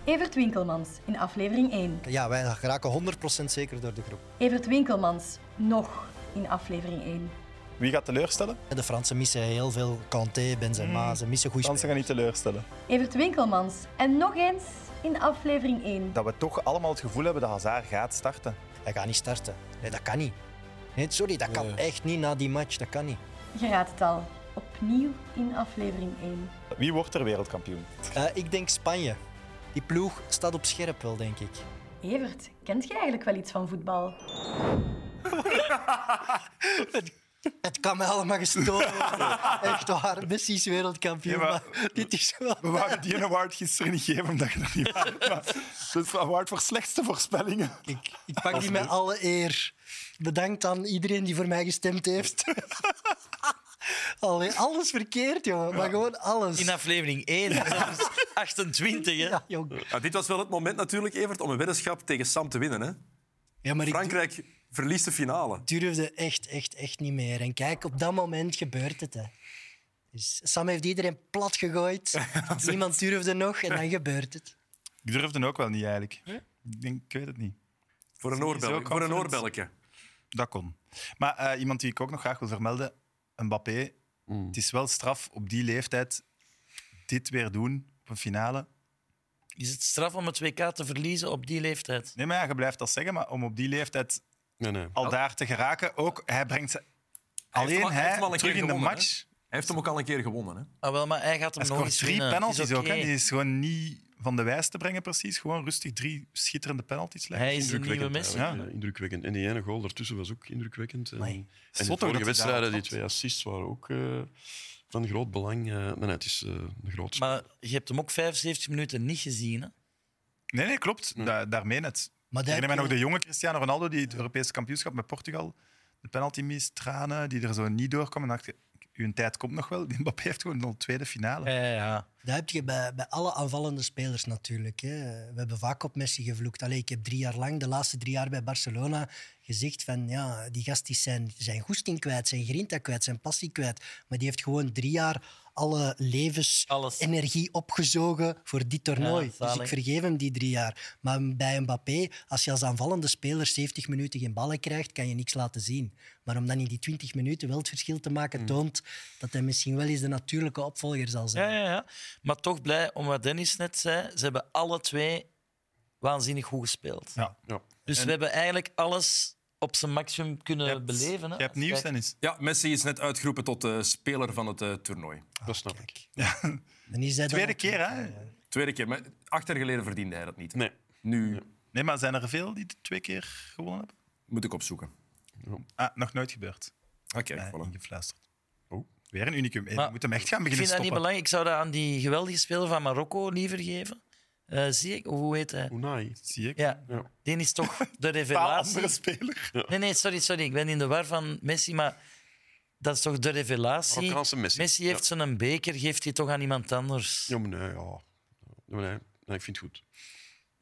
G: Evert Winkelmans in aflevering 1.
H: Ja, wij geraken 100% zeker door de groep.
G: Evert Winkelmans nog in aflevering 1.
A: Wie gaat teleurstellen?
H: De Fransen missen heel veel Kanté, Benzema,
E: Mm.
H: ze missen goede
A: Fransen
H: spelers.
A: gaan niet teleurstellen.
G: Evert Winkelmans en nog eens in aflevering 1.
A: Dat we toch allemaal het gevoel hebben dat Hazard gaat starten.
H: Hij gaat niet starten. Nee, dat kan niet. Nee, sorry, dat kan echt niet na die match, dat kan niet.
G: Je raadt het al. Op opnieuw in aflevering 1.
I: Wie wordt er wereldkampioen?
H: Eh, ik denk Spanje. Die ploeg staat op scherp wel, denk ik.
G: Evert, kent je eigenlijk wel iets van voetbal?
B: Het kan mij allemaal gestolen worden.
E: [laughs]
B: Echt waar. Messi is wereldkampioen.
A: Ja, maar-
B: maar dit is wel...
A: We wouden die een award gisteren niet geven omdat je dat niet [laughs] wou. Maar Het is een award voor slechtste voorspellingen.
B: Ik, ik pak die met alle eer. Bedankt aan iedereen die voor mij gestemd heeft. [laughs] Allee, alles verkeerd, jongen. Maar gewoon alles.
E: [laughs] In aflevering 1, 28, hè?
B: Ja, jong.
F: Ja, dit was wel het moment natuurlijk, Evert, om een weddenschap tegen Sam te winnen. Hè?
B: ja maar ik
F: Frankrijk verliest de finale.
B: durfde echt, echt, echt niet meer. En kijk, op dat moment gebeurt het. Hè. Dus Sam heeft iedereen plat gegooid. Niemand durfde nog en dan gebeurt het.
A: Ik durfde ook wel niet eigenlijk. Ik denk, ik weet het niet.
F: Voor een, oorbel,
A: confident.
F: voor een oorbelletje.
A: Dat kon. Maar eh, iemand die ik ook nog graag wil vermelden, Mbappé. Het is wel straf op die leeftijd dit weer doen op een finale.
E: Is het straf om het WK te verliezen op die leeftijd?
A: Nee, maar ja, je blijft dat zeggen, maar om op die leeftijd
C: Nee, nee.
E: Oh.
A: al daar te geraken, ook hij brengt ze
F: heeft hem
A: alleen
F: al- hij heeft
A: hij
F: hem al een
A: terug
F: keer
A: in de
F: gewonnen,
A: match.
F: Hij heeft hem ook al een keer gewonnen. Hè?
E: Ah, wel, maar hij gaat hem
A: Hij
E: nog
A: scoort
E: eens
A: drie
E: winnen.
A: penalties
E: Is
A: ook. Hè.
E: oké.
A: Die is gewoon niet van de wijs te brengen precies. Gewoon rustig drie schitterende penalties. lijkt me.
E: Hij is de nieuwe Messi.
A: Ja.
C: Ja. indrukwekkend. En die ene goal daartussen was ook indrukwekkend. En, en de
A: Zot ook dat hij
C: vorige wedstrijden,
A: daar
C: die twee assists, waren ook eh, van groot belang. eh maar nee, het is eh een groot...
E: Maar je hebt hem ook 75 minuten niet gezien. Hè?
A: Nee, nee, klopt. Da daarmee net.
B: Maar
A: Ik
B: daar
A: herinner mij nog
B: kun
A: de jonge Cristiano Ronaldo die het Europese kampioenschap met Portugal de penalty mist, tranen, die er zo niet doorkwam. En dacht je, uw tijd komt nog wel. [laughs] Die Mbappé heeft gewoon al tweede finale.
E: Ja, ja.
B: je- dat heb je bij, bij alle aanvallende spelers natuurlijk. Hè. We hebben vaak op Messi gevloekt. Allee, ik heb drie jaar lang, de laatste drie jaar bij Barcelona, gezegd van ja, die gast is zijn, zijn goesting kwijt, zijn grinta kwijt, zijn passie kwijt. Maar die heeft gewoon drie jaar alle levens...
E: Alles.
B: energie opgezogen voor dit toernooi.
E: Ja,
B: dus
E: zalig.
B: ik vergeef hem die drie jaar. Maar bij Mbappé, als je als aanvallende speler 70 minuten geen ballen krijgt, kan je niks laten zien. Maar om dan in die 20 minuten wel het verschil te maken, toont dat hij misschien wel eens de natuurlijke opvolger zal zijn.
E: Hmm. Ja, ja, ja. Maar toch blij om wat Dennis net zei. Ze hebben alle twee waanzinnig goed gespeeld.
A: Ja.
C: Ja.
E: Dus we hebben eigenlijk alles op zijn maximum kunnen beleven. Hè?
A: Je hebt
E: Als je
A: nieuws,
E: kijkt-
A: Dennis.
F: Ja, Messi is net uitgeroepen tot eh, speler van het eh, toernooi.
C: Dat snap ik.
B: [laughs] Dan is hij dan
A: Tweede
B: ook-
A: keer, hè?
F: Tweede keer. Maar acht jaar geleden verdiende hij dat niet.
C: Nee.
F: Nu
A: Nee, maar zijn er veel die het twee keer gewonnen hebben?
F: moet ik opzoeken.
A: Ah, nog nooit gebeurd.
F: Oké,
A: Nee,
F: voilà.
A: Eh, ingefluisterd.
C: Oh.
A: Weer een unicum. Hey,
E: Maar
A: we moeten hem echt gaan
E: Ik
A: beginnen
E: vind dat niet
A: stoppen.
E: belangrijk. Ik zou dat aan die geweldige speler van Marokko liever geven. Eh, zie ik, hoe heet hij?
C: Unai.
A: Zie ik.
E: Ja,
C: Ja.
E: die is toch de
A: Totaal
E: revelatie.
A: andere speler.
E: Nee, nee, sorry, sorry. Ik ben in de war van Messi, maar dat is toch de revelatie?
C: Marokkaanse Messi.
E: heeft zo'n beker, geeft hij toch aan iemand anders.
C: Ja, maar nee, ja. Ja, maar nee. Nee, ik vind het goed.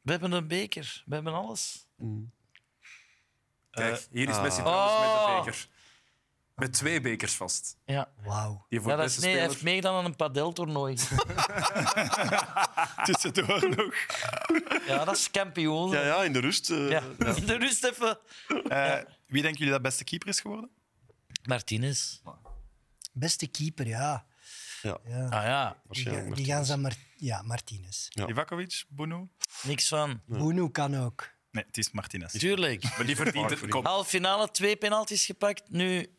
E: We hebben een beker, we hebben alles.
F: Kijk, hier is Messi trouwens met de beker. Met twee bekers vast.
E: Ja,
B: Wauw.
F: Die voor
E: ja
F: de
E: dat is,
F: beste
E: nee, hij heeft
F: speler.
E: meegedaan aan een padeltoernooi.
A: [laughs] Tussendoor
E: [laughs]
A: nog.
E: ja, dat is kampioen.
C: Ja,
E: Ja,
C: ja, in de rust. eh,
E: In [laughs] de rust even.
A: Eh, Wie denken jullie dat beste keeper is geworden?
E: Martinez.
B: Beste keeper, ja.
E: Ah ja,
B: Die,
C: waarschijnlijk maar
B: die gaan ze Mar ja, Martinez.
C: Ja.
A: Ivakovic, Bono?
E: niks van.
B: Bunu kan ook.
A: Nee, het is Martinez.
E: Tuurlijk.
F: Maar die verdient het. Kom,
E: Half finale, twee penalties gepakt. Nu,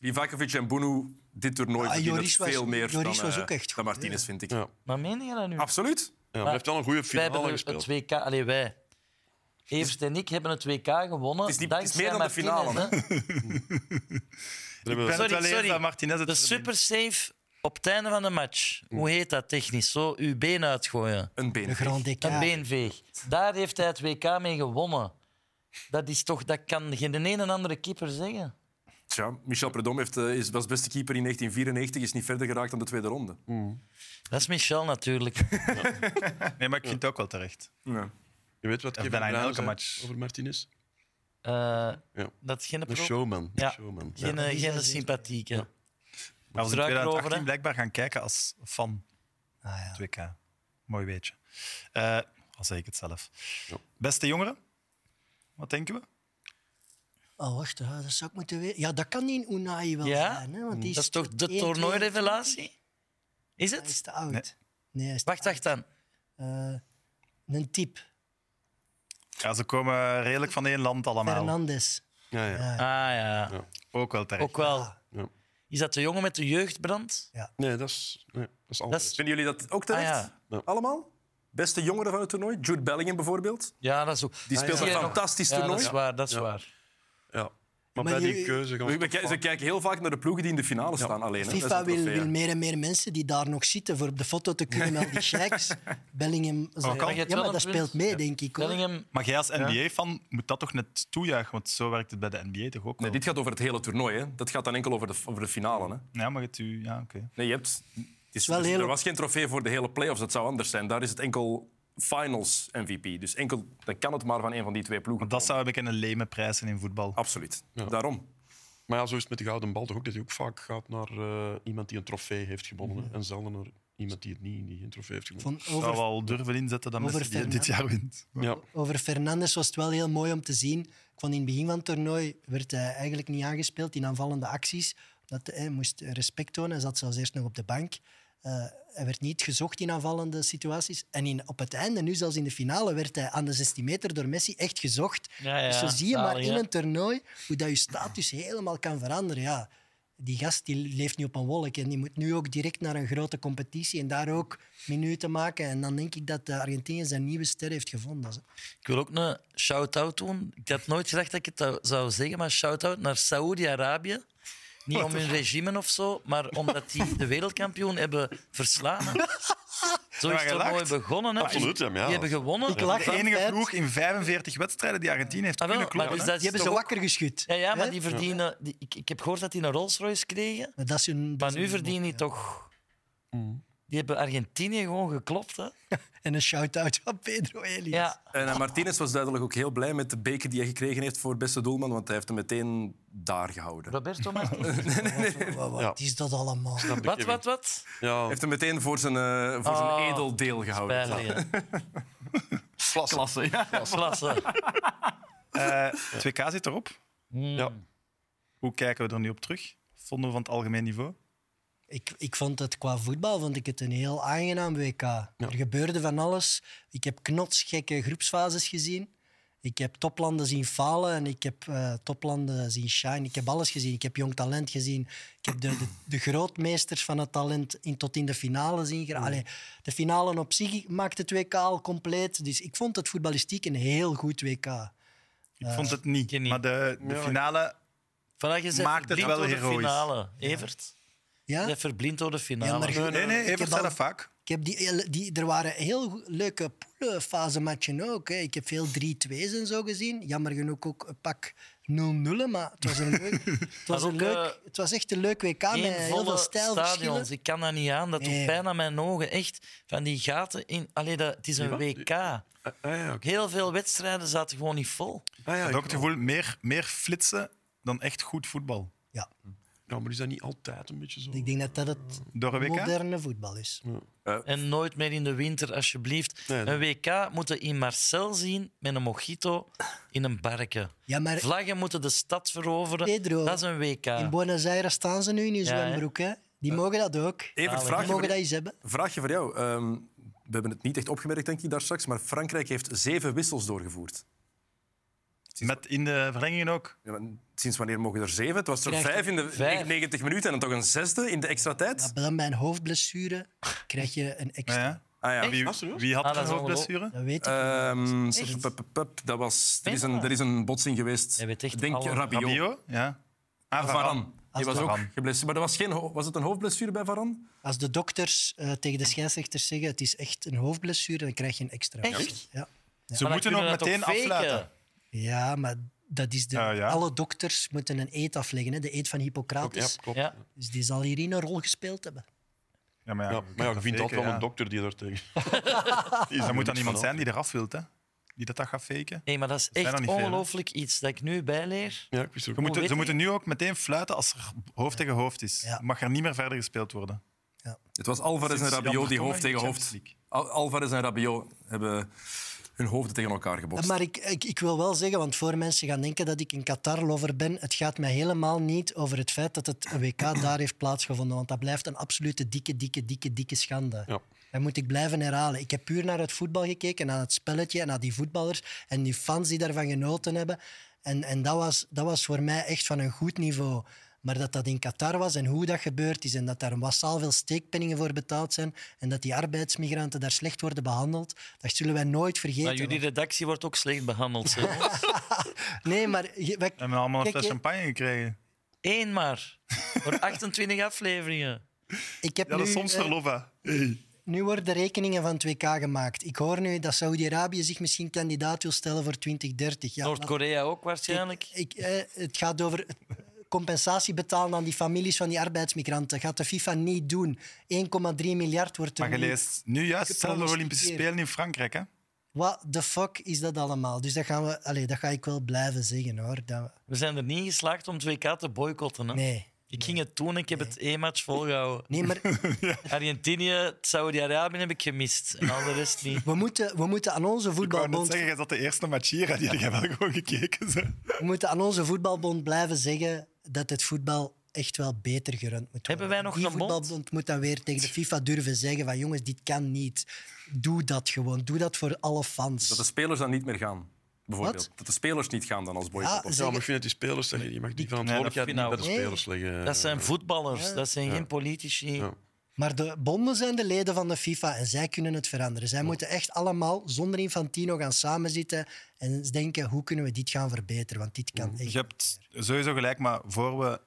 F: Livakovic en Bunu, dit toernooi
B: Ah,
F: verdienen
B: Joris
F: het
B: was-
F: veel meer
B: Joris
F: dan,
B: was
F: eh,
B: ook echt
F: dan
B: goed,
F: Martinez, vind ik.
C: Ja.
E: maar meen je dat nu?
F: Absoluut.
C: Ja, maar heeft wel een goede
E: wij hebben
C: finale
E: het
C: gespeeld.
E: het WK, allee, wij. Evert en ik hebben het WK gewonnen.
F: Het is niet- het is
E: dankzij
F: meer dan de
E: Martinez,
F: finale,
E: hè.
C: Daar hebben
A: Ik
C: we-
A: ben het
E: Sorry,
A: wel eens
E: sorry.
A: dat Martinez
F: [laughs]
A: het
E: De
A: verdient.
E: super safe op het einde van de match.
F: Hm.
E: Hoe heet dat technisch? Zo uw been uitgooien.
F: Een been.
B: De Grand
E: Een
B: Decade.
E: beenveeg. Daar heeft hij het WK mee gewonnen. Dat, is toch, dat kan geen de een en andere keeper zeggen.
F: Tja, Michel Predom heeft, eh, is, was beste keeper in 1994, is niet verder geraakt dan de tweede ronde.
E: Dat is Michel natuurlijk.
A: Nee, maar ik vind het ook wel terecht.
F: Ja.
C: Je weet
A: Dat
C: wat Kevin
A: bijna in
C: Bruijn
A: elke
C: zei
A: match.
C: over Martinez?
E: [laughs] Eh,
C: Ja.
E: Dat is geen,
C: Een
E: pro-
C: showman.
E: Ja.
C: Een showman.
E: geen,
C: Ja.
E: eh, geen sympathieke.
A: Maar we zijn in
E: struiker over,
A: 2018
E: hè?
A: blijkbaar gaan kijken als fan.
B: Ah, ja.
A: Het WK. Mooi weetje. Eh al zeg ik het zelf. Beste jongeren, wat denken we?
B: Oh, wacht, ja, dat zou ik moeten weten. Ja, dat kan die in Unai wel
E: Ja?
B: zijn. Hè, want die
E: Dat is toch de
B: 1, 22?
E: toernooirevelatie? Is
B: Hij is
E: het?
B: te oud.
A: Nee.
B: Nee, hij is te
E: Wacht, wacht dan.
B: eh, een type.
A: Ja, ze komen redelijk van één land allemaal.
B: Fernandes.
C: Ja, ja.
E: Ah ja,
A: Ook wel terecht.
E: ook wel.
C: Ja.
E: Is dat de jongen met de jeugdbrand?
C: Nee, dat is, nee, dat is anders.
E: Dat is-
F: Vinden jullie dat ook terecht?
E: Ah, ja.
C: Ja.
F: Allemaal? Beste jongeren van het toernooi? Jude Bellingham bijvoorbeeld.
E: Ja, dat is ook.
B: Ah,
F: Die speelt
E: Zie
F: een
E: je nog-
F: fantastisch
E: Ja, dat
F: toernooi.
E: is waar, dat is
C: Ja.
E: waar.
C: Ja.
B: Maar
C: Maar, bij die
B: je-
C: keuze gaan
F: We,
C: we
F: we
C: toch
F: kijken- ze
C: vaak-
F: kijken heel vaak naar de ploegen die in de finale staan alleen. hè. Dat is
B: FIFA
F: een
B: wil,
F: trofee, hè.
B: wil meer en meer mensen die daar nog zitten voor op de foto te kunnen met al die sheiks. Bellingham. zal-
E: kan.
B: Ja, maar dat speelt mee, denk ik. hoor.
E: Bellingham,
A: Maar jij als NBA-fan moet dat toch net toejuichen, want zo werkt het bij de NBA toch ook
F: Nee,
A: wel.
F: dit gaat over het hele toernooi. Hè. Dat gaat dan enkel over de, over de finale. Hè.
A: Ja, maar het u... Ja, oké.
F: Nee, je hebt, het is,
B: wel
F: dus
B: heel-
F: Er was geen trofee voor de hele playoffs. Dat zou anders zijn. Daar is het enkel finals MVP. Dus enkel, dan kan het maar van een van die twee ploegen.
A: Want dat zou ik een leme prijzen in voetbal.
F: Absoluut. Daarom.
C: Maar ja, zo is het met de gouden bal toch ook, dat hij ook vaak gaat naar eh, iemand die een trofee heeft gewonnen. hè. En zelden naar iemand die, het niet, die geen trofee heeft
B: Van
C: gewonnen.
A: Ik zou
B: over,
A: wel durven inzetten dat
B: Over
A: Messi die
B: Fernand-
A: dit jaar [laughs] wint.
C: Ja.
B: over Fernandes was het wel heel mooi om te zien. Ik vond in het begin van het toernooi werd hij eigenlijk niet aangespeeld in aanvallende acties. Dat, hij moest respect tonen. Hij zat zelfs eerst nog op de bank. Eh, hij werd niet gezocht in aanvallende situaties. En in, op het einde, nu zelfs in de finale, werd hij aan de 16 meter door Messi echt gezocht.
E: Ja, ja,
B: dus zo zie je maar
E: zalig,
B: in
E: hè?
B: een toernooi hoe dat je status helemaal kan veranderen. Ja, die gast die leeft niet op een wolk en die moet nu ook direct naar een grote competitie en daar ook minuten maken. En dan denk ik dat eh, Argentinië zijn nieuwe ster heeft gevonden.
E: ik wil ook een shout-out doen. Ik had nooit gedacht dat ik het zou- zou zeggen, maar shout-out naar Saoedi-Arabië. Niet om hun regime of zo, maar omdat die de wereldkampioen hebben verslagen. Zo is
A: Maar
E: het
A: je
E: mooi
A: lacht.
E: begonnen. Hè?
C: Absoluut, ja,
E: Die
C: maar ja,
E: hebben
C: dat-
E: gewonnen.
B: Ik lach
A: De
B: aan
A: enige
B: het feit-
A: ploeg in 45 wedstrijden die Argentinië heeft
E: Ah, wel,
A: kunnen
E: maar
A: kloppen.
E: dus dat is
B: Die hebben ze
E: toch ook-
B: wakker geschud.
E: Ja, ja, maar
B: hè?
E: die verdienen... die- ik, ik heb gehoord dat die een Rolls-Royce kregen.
B: Maar dat is hun, dat
E: Maar
B: is
E: nu
B: hun-
E: verdienen die toch...
B: Mm.
E: Die hebben Argentinië gewoon geklopt, hè?
B: En een shout-out [laughs] aan Pedro Elias.
E: Ja.
F: En eh, Martinez was duidelijk ook heel blij met de beker die hij gekregen heeft voor beste doelman, want hij heeft hem meteen daar gehouden. Hij
E: Roberto Martinez.
B: Oh, Wat, wat
C: Ja.
B: is dat allemaal?
E: Wat, wat, wat?
C: Ja,
F: heeft hem meteen voor zijn, eh, voor zijn
E: Ah.
F: edel deel
C: Oh,
F: gehouden.
E: Bijleggen.
F: Klasse. ja.
E: [laughs] Klasse.
A: Eh, het WK zit erop.
C: ja.
A: Hoe kijken we er nu op terug? Vonden we van het algemeen niveau?
B: Ik, ik vond het qua voetbal vond ik het een heel aangenaam WK. Er gebeurde van alles. Ik heb knotsgekke groepsfases gezien. Ik heb toplanden zien falen en ik heb eh, toplanden zien shine. Ik heb alles gezien. Ik heb jong talent gezien. Ik heb de, de, de grootmeesters van het talent in, tot in de finale zien. gera- Allee, de finale op zich maakt het WK al compleet. Dus ik vond het voetballistiek een heel goed WK.
A: Ik vond het niet.
E: ik niet.
A: Maar de, de finale...
E: Vandaag is hij
A: Maakt het
E: verblind
A: wel
E: door de
A: heroïs.
E: finale. Evert,
B: Ja?
E: hij verblind door de finale.
B: Ja, maar-
A: Nee, nee,
B: ik heb
A: even zei
B: al-
A: dat vaak.
B: Ik heb die, die, er waren heel go- leuke poelenfase matchen ook. Hè. Ik heb veel 3-2's en zo gezien. Jammer genoeg ook een pak 0-0'en, maar het was, een
F: [laughs]
B: leuk, het was,
E: Maar
B: een
E: ook,
B: leuk,
E: eh,
B: het was echt een leuk WK met
E: Geen
B: heel veel
E: volle
B: stijlverschillen.
E: stadions. Ik kan dat niet aan. Dat
B: Nee.
E: doet pijn aan mijn ogen. Echt, van die gaten in... Allee, dat, het is een WK.
C: Ah, ah, ja, oké.
E: Heel veel wedstrijden zaten gewoon niet vol.
C: Ah, ja,
A: Ik had ook het
C: ik-
A: gevoel, meer, meer flitsen dan echt goed voetbal.
B: Ja,
C: ja, maar is dat niet altijd een beetje zo?
B: ik denk dat dat het
A: Door een WK?
B: moderne voetbal is.
E: En nooit meer in de winter, alsjeblieft.
C: Nee,
E: Een WK moeten in Marcel zien met een mojito in een barke.
B: Ja, maar
E: Vlaggen moeten de stad veroveren.
B: Pedro,
E: dat is een WK.
B: in Buenos Aires staan ze nu in hun
E: Ja, hè.
B: zwembroek. Hè. Die mogen dat ook.
F: Evert, Eh, vraag
B: Die
F: je, voor,
B: mogen dat eens hebben.
F: vraag je voor jou. Ehm, we hebben het niet echt opgemerkt, denk ik, daar straks, maar Frankrijk heeft zeven wissels doorgevoerd.
A: Met in de verlengingen ook.
F: Ja, maar sinds wanneer mogen er zeven? Het was er
E: Krijg je
F: vijf in de
E: vijf?
F: 90 minuten en dan toch een zesde in de extra tijd?
B: Maar dan bij een hoofdblessure krijg je een
A: Ja,
B: extra.
A: ja.
F: Ah ja,
A: Wie,
C: Ah, serieus?
A: wie had
E: Ah,
A: er
E: dat
A: een
E: is
A: hoofdblessure?
B: Dat weet ik.
F: Ehm,
E: Echt?
F: pup, pup, pup, dat was, er, is een,
E: Bijna.
F: er is een botsing geweest.
E: Jij weet echt
F: Denk
E: alle-
F: Rabiot.
A: Rabiot? Ja. Ah,
F: Varan. Die was ook
A: Varane.
F: geblesseerd. Maar dat was, geen, ho- was het een hoofdblessure bij Varan?
B: Als de dokters eh, tegen de scheidsrechters zeggen het is echt een hoofdblessure, dan krijg je een extra.
E: Echt?
B: Ja.
A: Ze moeten ook meteen afluiten.
B: ja, maar dat is de,
A: Ah, ja.
B: alle dokters moeten een eet afleggen, hè? de eet van
C: Ja,
B: Hippocrates.
C: klopt.
E: Ja.
B: Dus die zal hierin een rol gespeeld hebben.
A: Ja, maar ja,
C: Ja,
A: je
C: maar ja, je
A: dat
C: vindt
A: faken,
C: altijd wel
A: ja.
C: een dokter die daar tegen. [laughs]
A: Er moet dan iemand
C: van
A: zijn die eraf wilt, hè? Die dat, dat gaat faken.
E: Nee, maar dat is
A: zijn er
E: echt
A: niet veel, hè?
E: ongelooflijk iets dat ik nu bijleer.
C: Ja, ik wist het
A: Ze
C: ook.
A: moeten,
E: weet
A: ze
E: ik?
A: moeten nu ook meteen fluiten als er hoofd tegen hoofd is.
B: Ja.
A: Mag er niet meer verder gespeeld worden.
F: Het was Alvarez en
A: Sinds
F: Rabiot die
A: Jan
F: hoofd tegen
A: Vertongen in de
F: hoofd.
A: Champions League.
F: Al- Alvarez en Rabiot hebben hun hoofden tegen elkaar gebotst.
B: Eh, Maar ik, ik, ik wil wel zeggen, want voor mensen gaan denken dat ik een Qatar-lover ben, het gaat mij helemaal niet over het feit dat het een WK daar heeft plaatsgevonden. Want dat blijft een absolute dikke, dikke, dikke, dikke schande.
A: Ah,
C: Ja.
B: Dat moet ik blijven herhalen. Ik heb puur naar het voetbal gekeken, naar het spelletje en naar die voetballers en die fans die daarvan genoten hebben. En, en dat, was, dat was voor mij echt van een goed niveau. Maar dat dat in Qatar was en hoe dat gebeurd is en dat daar massaal veel steekpenningen voor betaald zijn en dat die arbeidsmigranten daar slecht worden behandeld, dat zullen wij nooit vergeten.
E: Maar jullie redactie wordt ook slecht
B: [laughs]
E: behandeld. hè.
B: Nee, maar... je- wij-
A: We hebben allemaal een
B: Kijk,
A: fles
B: je-
A: champagne gekregen.
E: Eén maar. Voor 28 afleveringen.
B: Ik heb
A: Ja, dat is
B: nu,
A: soms
B: eh,
A: verlof, hè.
B: Nu worden rekeningen van 2K gemaakt. Ik hoor nu dat Saudi-Arabië zich misschien kandidaat wil stellen voor 2030. Ja, laat-
E: Noord-Korea ook waarschijnlijk.
B: Ik, eh, het gaat over compensatie betalen aan die families van die arbeidsmigranten. Dat gaat de FIFA niet doen. 1,3 miljard wordt er
A: Maar je
B: nu-
A: leest nu juist hetzelfde Olympische Spelen in Frankrijk, hè.
B: What the fuck is dat allemaal? Dus dat, gaan we, allee, dat ga ik wel blijven zeggen, hoor. Dat,
E: We zijn er niet geslaagd om 2K te boycotten. Hè?
B: nee.
E: Ik ging het doen, ik heb het één match volgehouden.
B: Nee,
A: [laughs]
B: maar
E: Argentinië, Saudi-Arabië heb ik gemist. En al de rest niet.
B: we moeten, we moeten aan onze
A: Ik wou net
B: voetbalbond...
A: zeggen, jij zat de eerste match hier, hè. Die heb wel gewoon gekeken, ze.
B: We moeten aan onze voetbalbond blijven zeggen dat het voetbal echt wel beter gerund moet worden.
E: Hebben wij nog
B: die
E: een bond?
B: voetbalbond moet dan weer tegen de FIFA durven zeggen van jongens, dit kan niet. Doe dat gewoon. Doe dat voor alle fans.
F: Dat de spelers dan niet meer gaan, bijvoorbeeld.
B: Wat?
F: Dat de spelers niet gaan dan als boycott.
E: Ah.
B: Ja,
F: of-
C: Ja, maar
B: zeggen-
C: ik vind dat die spelers, dat je je mag die
E: Nee,
C: verantwoordelijkheid
E: dat
C: niet bij de
E: vind
B: ik nou-
C: spelers leggen.
E: Dat zijn voetballers, dat zijn geen politici.
C: Ja.
B: Maar de bonden zijn de leden van de FIFA en zij kunnen het veranderen. Zij moeten echt allemaal zonder Infantino gaan samenzitten en eens denken hoe kunnen we dit gaan verbeteren, want dit kan echt.
A: Je hebt sowieso gelijk, maar voor we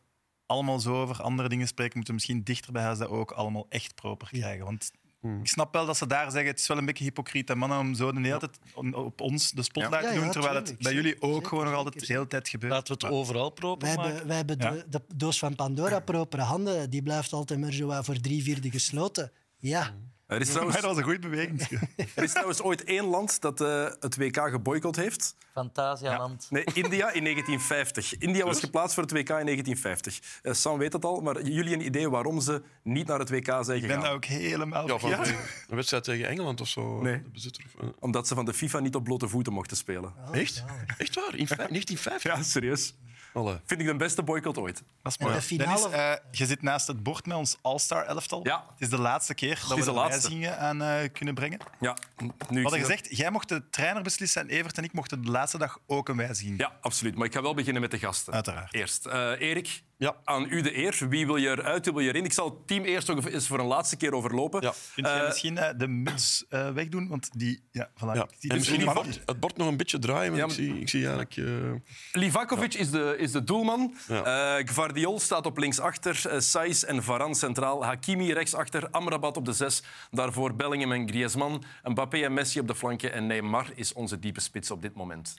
A: allemaal zo over andere dingen spreken, moeten we misschien dichter bij huis dat ook allemaal echt proper krijgen. Want
B: Hmm.
A: ik snap wel dat ze daar zeggen, het is wel een beetje hypocriet aan mannen om zo de hele tijd on- op ons de spotlight
B: Ja,
A: te doen,
B: ja,
A: terwijl het
B: tuurlijk,
A: bij jullie
B: zeker,
A: ook
B: zeker,
A: gewoon nog
B: zeker,
A: altijd de
B: zeker.
A: hele tijd gebeurt.
E: Laten we het overal proper
B: Wij hebben,
E: maken.
B: wij hebben
A: Ja.
B: de, de doos van Pandora propere handen. Die blijft altijd maar zo wat voor drie vierde gesloten. Ja,
F: Er is
A: Maar
F: trouwens,
A: dat was een goede
B: [laughs]
A: beweging.
F: er is trouwens ooit één land dat eh, het WK geboycott heeft.
E: Fantasialand.
F: Nee, India in 1950. India was geplaatst voor het WK in 1950. Eh, Sam weet dat al, maar jullie een idee waarom ze niet naar het WK zijn gegaan?
A: Ik ben nou- daar ook helemaal
C: Ja, van
A: Ja.
C: een wedstrijd tegen Engeland of zo.
F: Nee.
C: de bezitter of- eh,
F: Omdat ze van de FIFA niet op blote voeten mochten spelen.
C: Echt? Echt waar? In vijf- 1950?
F: Ja, serieus.
C: Allee.
F: Vind ik de beste boycott ooit.
A: Dat is
B: En
A: mooi.
B: de finale-
A: Dennis, eh, je zit naast het bord met ons All-Star elftal.
F: Ja.
A: Het is de laatste keer dat
F: is
A: we
F: de
A: de
F: laatste.
A: wijzigingen aan eh, kunnen brengen.
F: Ja, nu
A: We
F: ik
A: hadden
F: zie dat-
A: gezegd, jij mocht de trainer beslissen en Evert en ik mochten de laatste dag ook een wijziging.
F: Ja, absoluut. Maar ik ga wel beginnen met de gasten.
A: Uiteraard.
F: Eerst. Eh, Erik,
C: Ja.
F: aan u de eer. Wie wil je eruit, wie wil je erin? Ik zal het team eerst nog eens voor een laatste keer overlopen.
C: Ja.
A: Kunt jij
F: Eh,
A: misschien eh, de muts eh, wegdoen? Want die... Ja, voilà.
C: Ja.
A: Ik zie
C: En
A: het
C: misschien
A: niet,
C: het
A: maar-
C: bord, het bord nog een beetje draaien, want
F: Ja,
C: ik, zie, ik zie eigenlijk... eh,
F: Livakovic is, de, is de doelman.
C: Ja.
F: Eh, Gvardiol staat op linksachter. Eh Saiz en Varane centraal. Hakimi rechtsachter. Amrabat op de zes. Daarvoor Bellingham en Griezmann. Mbappé en Messi op de flanken. En Neymar is onze diepe spits op dit moment.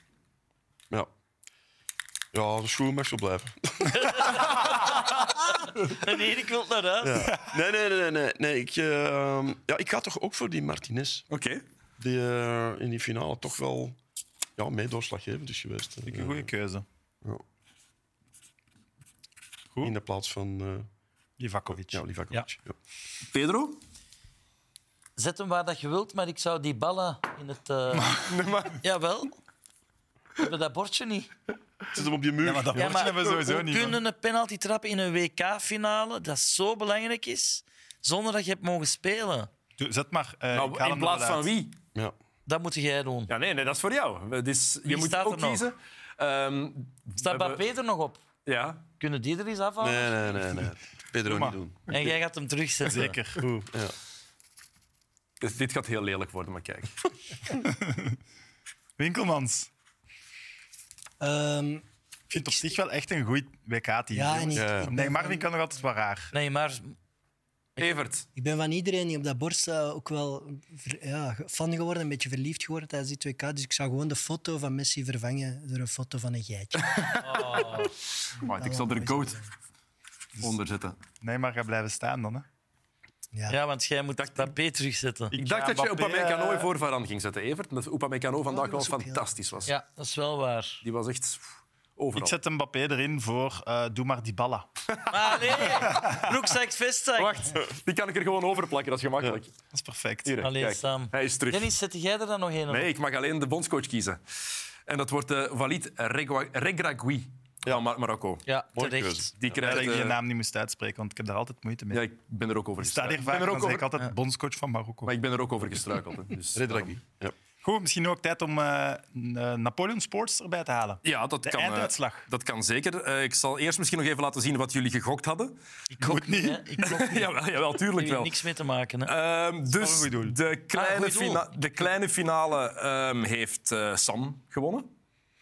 C: ja. Ja, de schoen mag zo blijven.
E: En Erik wil naar huis.
C: [laughs] Nee, nee, nee. nee, nee. nee ik, eh, ja, ik ga toch ook voor die Martinez.
F: Oké.
C: Die eh, in die finale toch wel ja, mee doorslaggevend is geweest. eh,
A: Vind ik een goede keuze.
C: in de plaats van eh
A: Livakovic.
C: ja, Livakovic. Ja.
F: Pedro?
E: Zet hem waar dat je wilt, maar ik zou die ballen in het...
F: [laughs]
E: eh Jawel. We hebben dat bordje niet.
C: Zit hem op je muur.
A: Ja, maar dat bordje hebben we sowieso
E: we
A: niet. man.
E: kunnen een penalty trappen in een WK-finale dat zo belangrijk is, zonder dat je hebt mogen spelen.
A: Doe- Zet maar. eh,
F: Nou,
A: ik haal
F: in
A: hem
F: plaats
A: er wel
F: van
A: uit.
F: wie?
C: Ja.
E: Dat moet jij doen.
F: Ja, nee, nee, dat is voor jou. Het is- je
E: Wie
F: moet
E: staat er
F: ook
E: nog?
F: kiezen. Ehm,
E: Staat
F: we hebben-
E: Mbappé er nog op?
F: Ja.
E: Kunnen die er eens afhalen?
C: Nee, nee, nee, nee. Pedro niet doen.
E: En jij gaat hem terugzetten.
A: Zeker.
C: Oeh, ja.
F: Dus dit gaat heel lelijk worden, maar kijk.
A: Winkelmans.
B: Ehm,
A: Ik vind op zich wel echt een goed WK-team.
B: ja en ik,
C: Ja.
B: ik ben
A: Nee,
B: van-
A: Marvin kan nog altijd wel raar.
E: Nee, maar
F: Evert.
B: Ik ben van iedereen die op dat bord staat ook wel ver- ja, fan geworden, een beetje verliefd geworden tijdens die 2K. Dus ik zou gewoon de foto van Messi vervangen door een foto van een geitje.
F: Right, ik zal er goat onder zetten.
A: Nee, maar ga blijven staan dan. Hè.
E: ja, want jij moet Mbappé terugzetten.
F: Ik dacht
A: ga
F: dat je
A: Mbappé,
F: Upamecano
A: eh,
F: voor Varane ging zetten, Evert. Omdat Upamecano vandaag
B: dat
F: wel
B: was ook heel-
F: fantastisch was.
E: Ja, dat is wel waar.
F: Die was echt pff,
A: Ik
F: overal.
A: zet Mbappé erin voor eh, doe maar die ballen.
E: Ah,
F: [laughs]
E: nee! Broekzak, vestzak.
F: Wacht, [laughs] die kan ik er gewoon over plakken, dat is gemakkelijk.
A: Dat is perfect.
F: Hier,
E: Allee,
F: kijk.
E: Sam.
F: Hij is terug.
E: Dennis, zet jij er dan nog een op?
F: Nee, ik mag alleen de bondscoach kiezen. En dat wordt eh Walid Regua- Regragui van Mar- Marokko.
E: Ja,
C: Mooie
E: terecht.
C: keuze.
F: Die
A: Blij
F: krijgt...
A: dat ik je
F: eh,
A: naam niet moest uitspreken, want ik heb daar altijd moeite mee.
F: ja, ik ben er ook over
A: ik sta
F: gestruikeld.
A: hier
F: Ik ben
A: vaak en
F: er
A: dan zeg
F: ook
A: ik
F: over,
A: altijd bondscoach van Marokko. [laughs]
F: maar ik ben er ook over gestruikeld. hè. Dus,
C: Redraghi. Ja.
A: Goed, misschien ook tijd om eh, een, eh, Napoleon Sports erbij te halen.
F: Ja, dat
A: De
F: kan, eh,
A: einduitslag.
F: dat kan zeker. Eh, ik zal eerst misschien nog even laten zien wat jullie gegokt hadden.
E: Ik gok niet. hè. Ik gok niet.
F: [laughs] jawel, jawel, tuurlijk
E: Hier heeft
F: wel.
E: niks mee te maken.
A: Ah,
E: Hè.
F: Ehm, dus
A: goed doel.
F: de
E: Ah,
F: kleine,
E: goed doel.
F: fina- de kleine finale ehm, heeft eh, Sam gewonnen.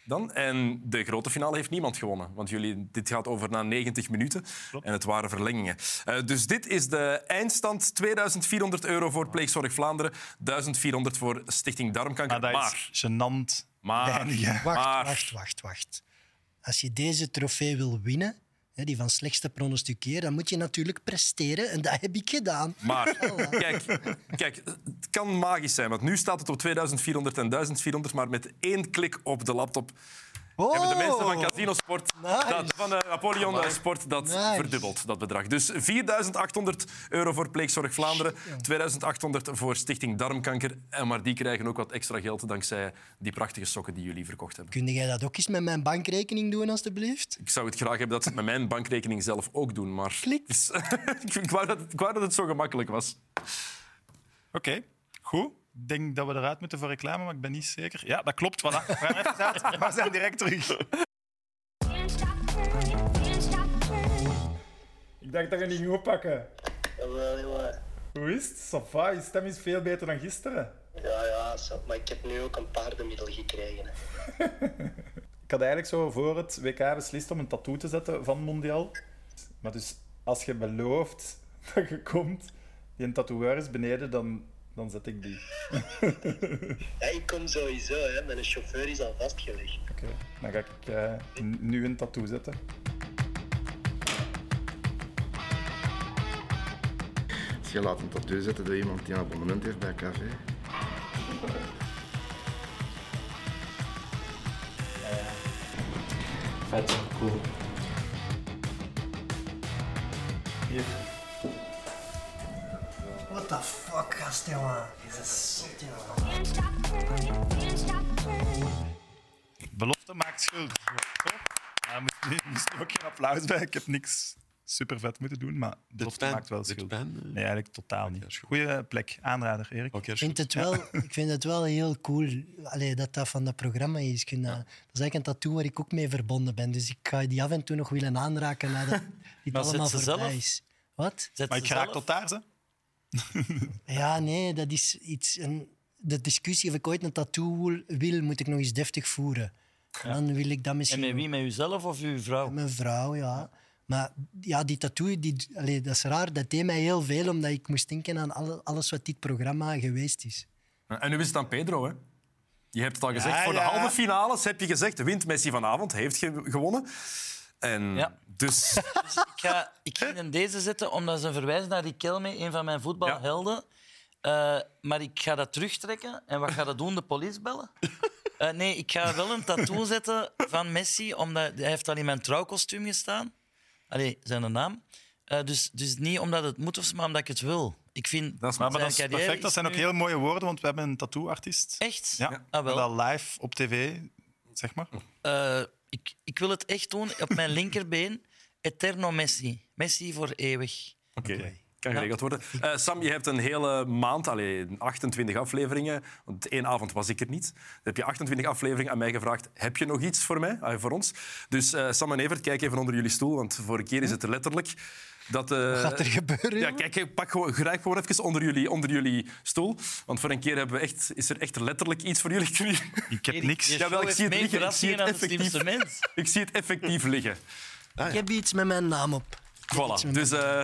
F: Dan. En de grote finale heeft niemand gewonnen. Want jullie, dit gaat over na 90 minuten. En het waren verlengingen. Eh, dus dit is de eindstand. 2400 euro voor Pleegzorg Vlaanderen. 1400 voor Stichting Darmkanker.
A: Maar Ah, dat
F: Maar, Ah,
A: is gênant.
F: maar,
A: [laughs] weinig, hè.
B: Wacht,
F: Maar-
B: wacht, wacht, wacht. Als je deze trofee wil winnen, hè, die van slechtste pronosticeer, dan moet je natuurlijk presteren. En dat heb ik gedaan.
F: Maar kijk, kijk, het kan magisch zijn, want nu staat het op 2400 en 1400, maar met één klik op de laptop hebben de mensen van Casino Sport,
B: Oh. Nice.
F: dat, van de Napoleon Sport, dat
B: Nice.
F: verdubbelt, dat bedrag. Dus 4800 euro voor Pleegzorg Vlaanderen, 2800 voor Stichting Darmkanker, en maar die krijgen ook wat extra geld dankzij die prachtige sokken die jullie verkocht hebben.
B: Kun jij dat ook eens met mijn bankrekening doen, alstublieft?
F: Ik zou het graag hebben dat ze het met mijn bankrekening zelf ook doen, maar... [laughs] ik, wou dat, ik wou dat het zo gemakkelijk was.
A: Oké, goed. Ik denk dat we eruit moeten voor reclame, maar ik ben niet zeker. Ja, dat klopt. Voilà. We
I: [laughs]
A: gaan even uit. We zijn direct terug.
D: Can't stop burning, can't stop burning.
I: Ik dacht dat je niet ging oppakken.
J: Jawel, jawel.
I: Hoe is het? Safa, je stem is veel beter dan gisteren.
J: Ja, ja, sap, maar ik heb nu ook een paardenmiddel gekregen. hè.
I: Ik had eigenlijk zo voor het WK beslist om een tattoo te zetten van Mondial. Maar dus als je belooft [laughs] dat je komt, die een tatoeëur is beneden, dan, dan zet ik die.
J: Ja, ik kom sowieso, hè. mijn chauffeur is al vastgelegd.
I: Oké, dan ga ik eh, n- nu een tattoo zetten.
K: Als je laat een tattoo zetten door iemand die een abonnement heeft bij een café.
J: Vet, cool.
B: What the fuck, gast, jongen. Dit is zot, jongen.
D: Can't stop burning, can't stop burning.
A: Belofte maakt schuld. Daar moest, nu- moest ook geen applaus bij. Ik heb niks super vet moeten doen, maar belofte
C: pijn-
A: maakt wel
C: dit
A: schuld.
C: pijn, eh?
A: nee, eigenlijk totaal niet. Goeie plek. Aanrader, Erik.
C: Oké,
B: Ik vind, het wel, ik vind het wel heel cool allee, dat dat van dat programma is. Ik vind dat, dat is eigenlijk een tattoo waar ik ook mee verbonden ben. Dus ik ga die af en toe nog willen aanraken nadat dit
E: Maar zet
B: allemaal
E: ze
B: voorbij
E: zelf?
B: is. Wat?
E: Zet
A: Maar
E: ze
A: ik raak
E: zelf.
A: tot daar, ze.
B: Ja, nee, dat is iets... Een, de discussie of ik ooit een tattoo wil, wil, moet ik nog eens deftig voeren. En dan wil ik dat
E: En
B: misschien...
E: met wie? Met uzelf of uw vrouw?
B: Mijn vrouw, ja. Maar ja, die tattoo, die, allee, dat is raar. Dat deed mij heel veel, omdat ik moest denken aan alle- alles wat dit programma geweest is.
F: En nu is het aan Pedro, hè? Je hebt het al gezegd. voor
A: ja.
F: de halve finales heb je gezegd: wint Messi vanavond, heeft ge- gewonnen. En
E: Ja.
F: dus
E: Ik ga, ik ging in deze zetten omdat ze een verwijzing naar Riquelme, een van mijn voetbalhelden. Eh, maar ik ga dat terugtrekken. En wat ga dat doen? De police bellen? Eh, nee, ik ga wel
A: [laughs]
E: een tattoo zetten van Messi, omdat hij heeft al in mijn trouwkostuum gestaan. Allee, zijn naam. Eh, dus, dus niet omdat het moet of zo, maar omdat ik het wil. Ik vind
F: Dat is-
A: Maar, maar dat
E: zijn
A: is
E: carrière
A: perfect. Dat
E: is
A: zijn ook
E: nu-
A: heel mooie woorden, want we hebben een tattooartiest.
E: Echt?
A: Ja,
E: Ah, wel.
A: dat live op tv, zeg maar.
E: Eh, ik, ik wil het echt doen op mijn [laughs] linkerbeen. Eterno Messi. Messi voor eeuwig.
F: Oké. Kan geregeld worden. Eh, Sam, je hebt een hele maand, allee, 28 afleveringen. Want één avond was ik er niet. Dan heb je 28 afleveringen aan mij gevraagd. Heb je nog iets voor mij, Ah, voor ons? Dus eh, Sam en Evert, kijk even onder jullie stoel, want vorige keer is het letterlijk dat. eh,
B: Gaat er gebeuren?
F: Ja, kijk, pak gewoon, grijp gewoon even onder jullie, onder jullie stoel. Want voor een keer hebben we echt, is er echt letterlijk iets voor jullie. [laughs] kunnen jullie-
A: Ik heb niks.
E: Je
F: Ja, wel, ik
E: heeft
F: zie het
E: meer
F: liggen, ik zie
E: verrassingen dan
F: het
E: het
F: effectief.
E: slimste mens.
F: ik zie het effectief liggen.
B: Ik heb iets met mijn naam op.
F: Voilà. Dus eh,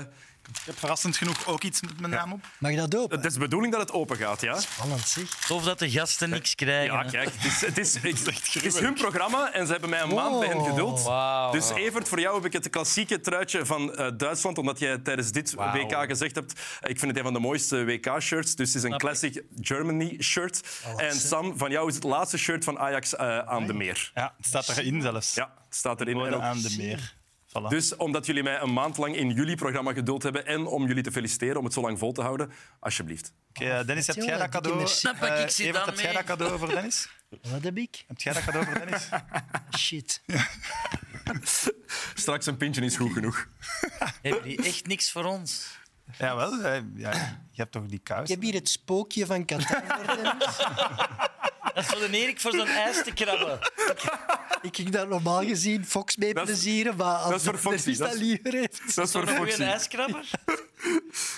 A: Ik heb verrassend genoeg ook iets met mijn naam op.
B: Mag dat ook?
F: het is de bedoeling dat het open gaat, ja?
B: Spannend, zeg.
E: Tof dat de gasten niks krijgen.
F: Ja,
E: hè.
F: kijk, het is, het is, ik- het is hun programma en ze hebben mij een maand bij hen geduld.
E: Wauw.
F: Dus Evert, voor jou heb ik het klassieke truitje van eh, Duitsland, omdat jij tijdens dit WK gezegd hebt, ik vind het een van de mooiste WK-shirts, dus het is een classic Germany-shirt. En Sam, van jou is het laatste shirt van Ajax eh, aan de meer.
A: Ja, het staat erin zelfs.
F: Ja, het staat erin. En
A: Woorden
F: ook-
A: Dus- aan de meer. Voilà.
F: Dus omdat jullie mij een maand lang in jullie programma geduld hebben en om jullie te feliciteren om het zo lang vol te houden, alsjeblieft.
A: Oké, eh, Dennis, heb jij
B: Jongen,
A: dat
B: dikke
A: cadeau?
B: merci.
E: Dan pak ik
A: Eh,
E: ze
A: Evert,
E: dan
A: heb jij
E: mee.
A: dat cadeau voor Dennis?
B: Wat heb ik?
A: Heb jij dat cadeau
E: [laughs]
A: voor Dennis?
B: Shit.
F: Straks een pintje is goed genoeg.
E: Hebben die echt niks voor ons?
A: Jawel, eh, ja, je hebt toch die
B: Ik
A: kous?
B: [laughs] heb hier het spookje van Qatar. voor Dennis.
E: Dat is voor de Erik voor zo'n ijs te
F: [laughs]
E: krabben.
B: Ik ging daar normaal gezien Fox mee
F: Dat is-
B: plezieren, maar als
F: dat is voor
B: de
F: Foxy,
B: journalist
F: dat
B: dat
F: is-
B: liever heeft,
F: Dat is voor
E: Zo'n goede
F: Foxy.
E: ijskrabber.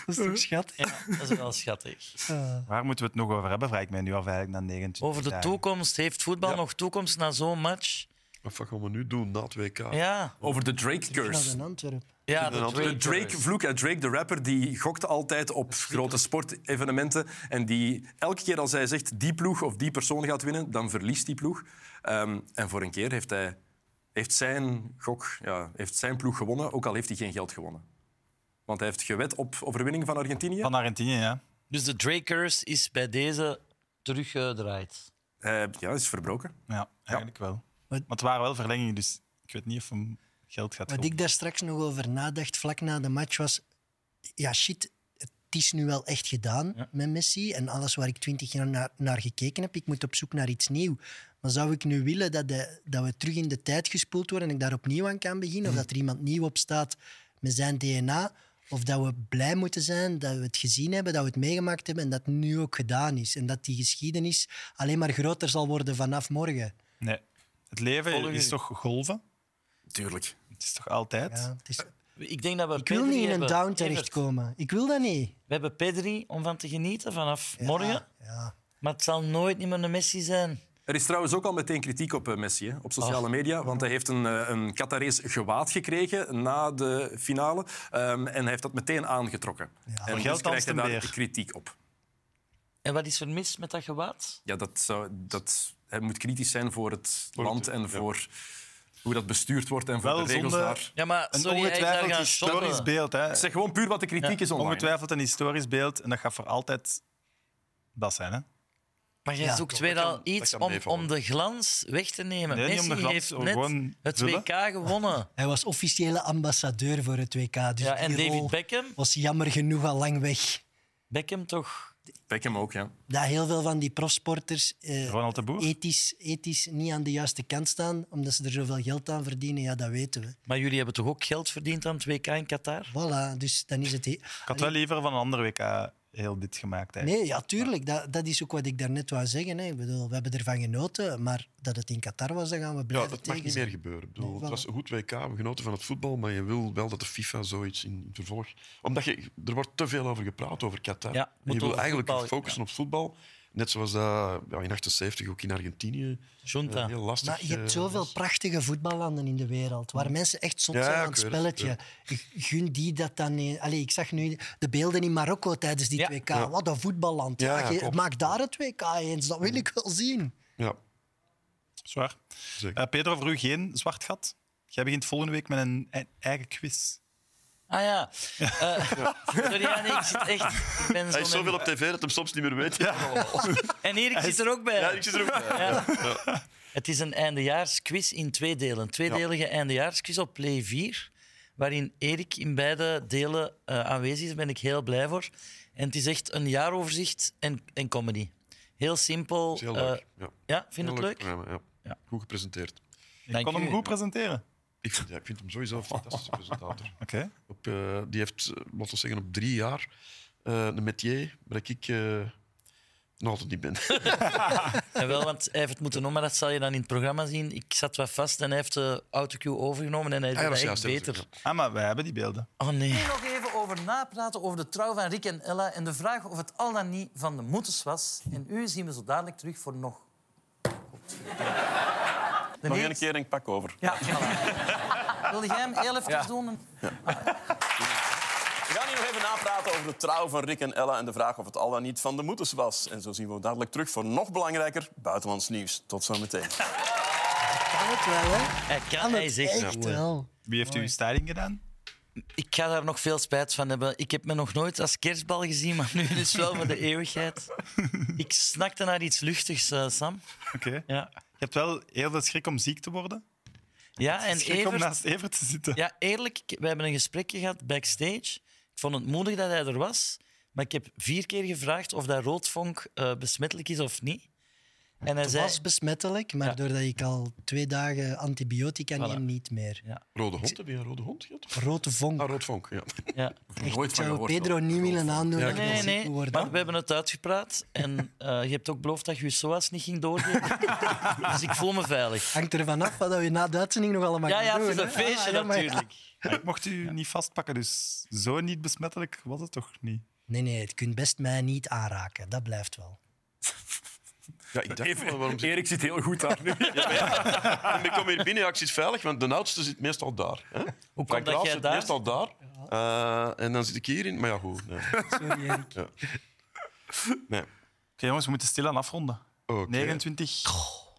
B: dat is toch schattig.
E: Ja, dat is wel schattig.
A: Waar moeten we het nog over hebben, vraag ik mij nu af eigenlijk, na 29
E: Over de
A: dagen.
E: toekomst. Heeft voetbal
C: Ja.
E: nog toekomst na zo'n match?
C: Wat gaan we nu doen na het WK?
E: Ja.
F: Over de Drake
B: Dat is
F: curse.
B: een Antwerp.
E: Ja,
C: een
E: de
C: antwoord.
F: De
E: Drake.
F: Drake vloek. hè. Drake, de rapper, die gokte altijd op grote sportevenementen. En die elke keer als hij zegt die ploeg of die persoon gaat winnen, dan verliest die ploeg. Ehm, en voor een keer heeft, hij, heeft zijn gok, ja, heeft zijn ploeg gewonnen, ook al heeft hij geen geld gewonnen. Want hij heeft gewet op overwinning van Argentinië.
A: Van Argentinië, ja.
E: Dus de Drake curse is bij deze teruggedraaid.
F: Hij ja, is verbroken.
A: Ja, eigenlijk wel.
B: Wat-
A: Maar het waren wel verlengingen, dus ik weet niet of hem geld gaat
B: Wat
A: kopen.
B: ik daar straks nog over nadacht, vlak na de match, was... Ja, shit, het is nu wel echt gedaan met Messi. En alles waar ik twintig jaar naar, naar gekeken heb, ik moet op zoek naar iets nieuws. Maar zou ik nu willen dat, de, dat we terug in de tijd gespoeld worden en ik daar opnieuw aan kan beginnen? Of dat er iemand nieuw op staat met zijn DNA? Of dat we blij moeten zijn dat we het gezien hebben, dat we het meegemaakt hebben en dat het nu ook gedaan is. En dat die geschiedenis alleen maar groter zal worden vanaf morgen.
A: Nee. Het leven
E: Volgen
A: is
E: jullie?
A: toch golven?
F: Tuurlijk.
A: Het is toch altijd?
B: Ja, het is,
E: Ik denk dat we
B: ik wil
E: Pedri
B: niet in een
E: hebben.
B: down
E: Evert,
B: terechtkomen. Ik wil dat niet.
E: We hebben Pedri om van te genieten vanaf
B: Ja,
E: morgen.
B: Ja.
E: Maar het zal nooit niet meer een Messi zijn.
F: Er is trouwens ook al meteen kritiek op eh, Messi hè, op sociale media, want hij heeft een, eh, een Qatarees gewaad gekregen na de finale ehm, en hij heeft dat meteen aangetrokken. En
A: Voor
F: dus
A: geld
F: krijgt hij
A: danst
F: daar
A: hem weer.
F: kritiek op.
E: En wat is er mis met dat gewaad?
F: Ja, dat zou, dat, hij moet kritisch zijn voor het land en voor hoe dat bestuurd wordt en voor
A: Wel
F: de regels
A: zonder-
F: daar.
E: Ja, maar
A: Een
E: sorry, hij is daar
A: ongetwijfeld
E: gaan
A: historisch
E: shoppen.
A: beeld. Hè.
F: Ik zeg gewoon puur wat de kritiek is online.
A: Ongetwijfeld een historisch beeld. En dat gaat voor altijd dat zijn. Hè?
E: Maar jij
B: Ja,
E: zoekt
B: dat
E: weer
C: kan-
E: al
C: dat
E: iets
C: kan
E: om,
C: meevallen.
E: om de glans weg te nemen.
A: Nee, niet om
E: Messi
A: de glans,
E: heeft
A: om
E: net
A: gewoon
E: het
A: vullen.
E: WK gewonnen.
B: Hij was officiële ambassadeur voor het WK. Dus
E: Ja, en
B: [laughs] die
E: David
B: rol
E: Beckham,
B: was jammer genoeg al lang weg.
E: Beckham toch?
F: Beckham ook, ja.
B: Dat heel veel van die profsporters eh,
A: Ronald de Boer.
B: ethisch, ethisch niet aan de juiste kant staan, omdat ze er zoveel geld aan verdienen, ja, dat weten we.
E: Maar jullie hebben toch ook geld verdiend aan het WK in Qatar?
B: Voilà, dus dan is het... he-
A: Ik had wel liever van een andere WK heel dit gemaakt. Eigenlijk.
B: Nee, ja, tuurlijk. Dat, dat is ook wat ik daarnet wou zeggen. Hè. Ik bedoel, we hebben ervan genoten, maar dat het in Qatar was, dat gaan we
C: Ja,
B: blijven
C: dat mag
B: tegen
C: niet
B: zijn.
C: meer gebeuren. Ik bedoel,
B: Nee,
C: het was
B: voilà.
C: een goed WK, we genoten van het voetbal, maar je wil wel dat de FIFA zoiets in het vervolg... Omdat je, er wordt te veel over gepraat, over Qatar.
E: Ja,
C: En
E: moet
C: je wil
E: over
C: eigenlijk
E: voetbal,
C: focussen op voetbal. Net zoals dat, ja, in 78 ook in Argentinië. eh,
E: Junta.
C: heel lastig.
B: Maar je hebt
C: eh,
B: zoveel
C: was.
B: prachtige voetballanden in de wereld, waar mensen echt zot
C: Ja,
B: zijn aan
C: ik
B: het
C: weet het,
B: spelletje. Gun die dat dan... eh, Allee, ik zag nu de beelden in Marokko tijdens die
E: Ja.
B: 2K. Wat een voetballand.
C: Ja,
B: Ja, je-
C: klopt.
B: maak daar het 2K eens, dat wil ik wel zien.
C: Ja,
A: Zwaar.
C: zeker.
A: Eh, Pedro, voor u geen zwart gat? Jij begint volgende week met een e- eigen quiz.
E: Ah ja. Eh, [laughs] sorry, ja, nee, ik zit echt... Ik ben
C: Hij is
E: zo
C: zoveel
E: met-
C: op tv dat hem soms niet meer weet. [laughs] Ja,
E: En Erik zit er ook bij.
C: ik zit er ook bij.
E: Ja. Het is een eindejaarsquiz in twee delen. Een tweedelige eindejaarsquiz op Play 4, waarin Erik in beide delen eh, aanwezig is. Daar ben ik heel blij voor. En het is echt een jaaroverzicht en, en comedy. Heel simpel.
C: Dat is heel
E: eh,
C: leuk. Ja.
E: ja, vind je
C: Heel
E: het leuk?
C: programma, ja.
E: Ja.
C: Goed gepresenteerd.
A: Ik
E: Dank
A: kon hem
E: u.
A: goed presenteren.
C: Ik vind, ja, ik vind hem sowieso een
E: [laughs]
C: fantastische presentator.
A: Oké.
C: Op, eh, die heeft, eh, laten we zeggen, op drie jaar eh, een metier waar ik eh, nog altijd niet [laughs] ben. Ah,
E: En wel, want hij heeft het moeten doen, maar dat zal je dan in het programma zien. Ik zat wat vast en hij heeft de autocue overgenomen en hij
C: Hij
E: deed dat
C: was
E: echt
C: juist, hij was
E: beter.
C: ook,
A: Ah, maar wij hebben die beelden.
E: Oh nee. Ik nog even over napraten over de trouw van Rick en Ella en de vraag of het al dan niet van de moeders was. En u zien we zo dadelijk terug voor nog. De
L: Nog één keer en ik pak over.
E: Ja, voilà. Wil jij hem heel even doen?
L: We gaan hier nog even napraten over de trouw van Rick en Ella en de vraag of het al dan niet van de moeders was. En zo zien we dadelijk terug voor nog belangrijker buitenlands nieuws. Tot zo meteen.
B: Kan het wel, hè?
E: Hij kan, hij
B: het
E: is echt eh,
B: echt
E: goed.
B: wel.
A: Wie heeft u uw styling gedaan?
E: Ik ga daar nog veel spijt van hebben. Ik heb me nog nooit als kerstbal gezien, maar nu is wel voor de eeuwigheid. Ik snakte naar iets luchtigs, eh, Sam.
A: Oké.
E: Ja,
A: Je hebt wel heel veel schrik om ziek te worden.
E: ja en
A: schrik om
E: Evert...
A: naast Evert te zitten.
E: Ja, eerlijk, ik- we hebben een gesprekje gehad backstage. Ik vond het moedig dat hij er was, maar ik heb vier keer gevraagd of dat roodvonk eh, besmettelijk is of niet. En hij
B: het
E: zei-
B: was besmettelijk, maar doordat ik al twee dagen antibiotica neem, niet meer.
C: Rode hond, heb je een rode hond gehad?
B: Rood vonk.
C: Ah, rood vonk, ja.
E: ja.
B: Echt, ik zou Pedro niet willen aandoen.
E: Nee,
B: dat ik
E: nee,
B: ziek
E: nee.
B: moet worden.
E: Maar we hebben het uitgepraat. En eh, je hebt ook beloofd dat je je SOAS niet ging doorgeven. dus ik voel me veilig.
B: Hangt er vanaf wat we na de uitzending nog allemaal
E: Ja,
B: gaan
E: ja,
B: doen.
E: het is een
B: hè? Ah,
E: feestje
B: ja, maar ja.
E: natuurlijk.
A: Maar ik mocht u niet vastpakken, dus zo niet besmettelijk was het toch niet?
B: Nee, nee, het kunt best mij niet aanraken. Dat blijft wel.
C: Ja, ik dacht
F: Even-
C: wel, waarom zit...
F: Erik zit heel goed daar nu.
C: En ik kom hier binnen, ja, ik zit veilig, want de oudste zit meestal daar. Hè? Hoe
E: dat jij
C: zit
E: daar
C: meestal daar. Eh, en dan zit ik hierin, maar ja, goed. Nee.
B: Sorry, Erik.
C: Ja. Nee.
A: Oké, jongens, we moeten stilaan afronden.
C: Oké.
A: 29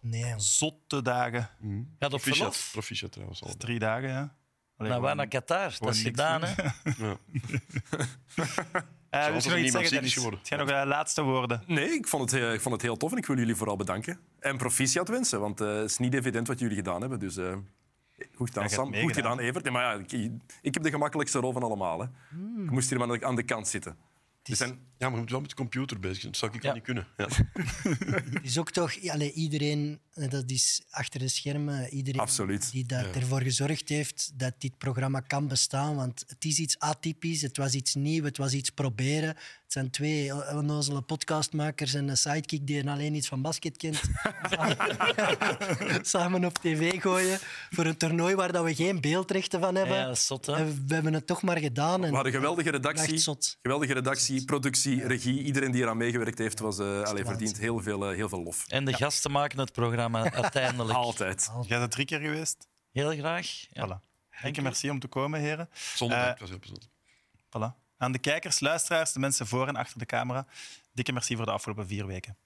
B: Nee, man.
A: zotte dagen.
E: Gaat op
C: Proficiat,
E: verlof.
C: proficiat trouwens al.
A: Drie dagen, ja. Allee,
E: Naar waar?
A: gewoon- Eh,
E: Naar Qatar. Dat
A: gewoon
E: is
A: niks
E: gedaan, hè?
C: Ja.
A: Eh,
C: Zoals
A: wil je
C: er
A: nog iets zeggen,
C: niemand ziek is
A: Dennis?
C: geworden.
A: Het zijn nog eh, laatste woorden.
F: Nee, ik vond, het, heel- ik vond het heel tof en ik wil jullie vooral bedanken. En proficiat wensen, want eh, het is niet evident wat jullie gedaan hebben. Dus eh, goed gedaan,
A: hebt
F: Sam. Goed
A: meegedaan.
F: gedaan, Evert. Nee, maar ja, ik, ik heb de gemakkelijkste rol van allemaal. Hè.
B: Hmm.
F: Ik moest hier maar aan de kant zitten. Dus dan,
C: Ja, maar je moet wel met de computer bezig zijn. Dat zou ik
E: Ja.
C: al niet kunnen.
A: [laughs]
C: Ja.
B: Het is ook toch, allee, iedereen, eh, dat is achter de schermen, eh, iedereen
F: Absoluut.
B: die dat ervoor gezorgd heeft dat dit programma kan bestaan. Want het is iets atypisch, het was iets nieuw, het was iets proberen. Het zijn twee onnozele podcastmakers en een sidekick die alleen iets van basket kent. Samen- Samen op tv gooien voor een toernooi waar dat we geen beeldrechten van hebben.
E: Ja, dat is zot, hè?
B: En we hebben het toch maar gedaan. En
F: we hadden geweldige
B: Echt
F: redactie,
B: zot.
F: geweldige redactie, productie, regie. Iedereen die eraan meegewerkt heeft, was, eh allee,
B: waanzin.
F: verdient heel veel, eh, heel veel lof.
E: En de gasten maken het programma uiteindelijk.
F: Altijd.
A: Jij bent drie keer geweest.
E: Heel graag. Ja.
A: Voilà. Dikke merci om te komen, heren.
C: Zonder
A: Eh,
C: dat was heel plezant.
A: Voilà. Aan de kijkers, luisteraars, de mensen voor en achter de camera. Dikke merci voor de afgelopen vier weken.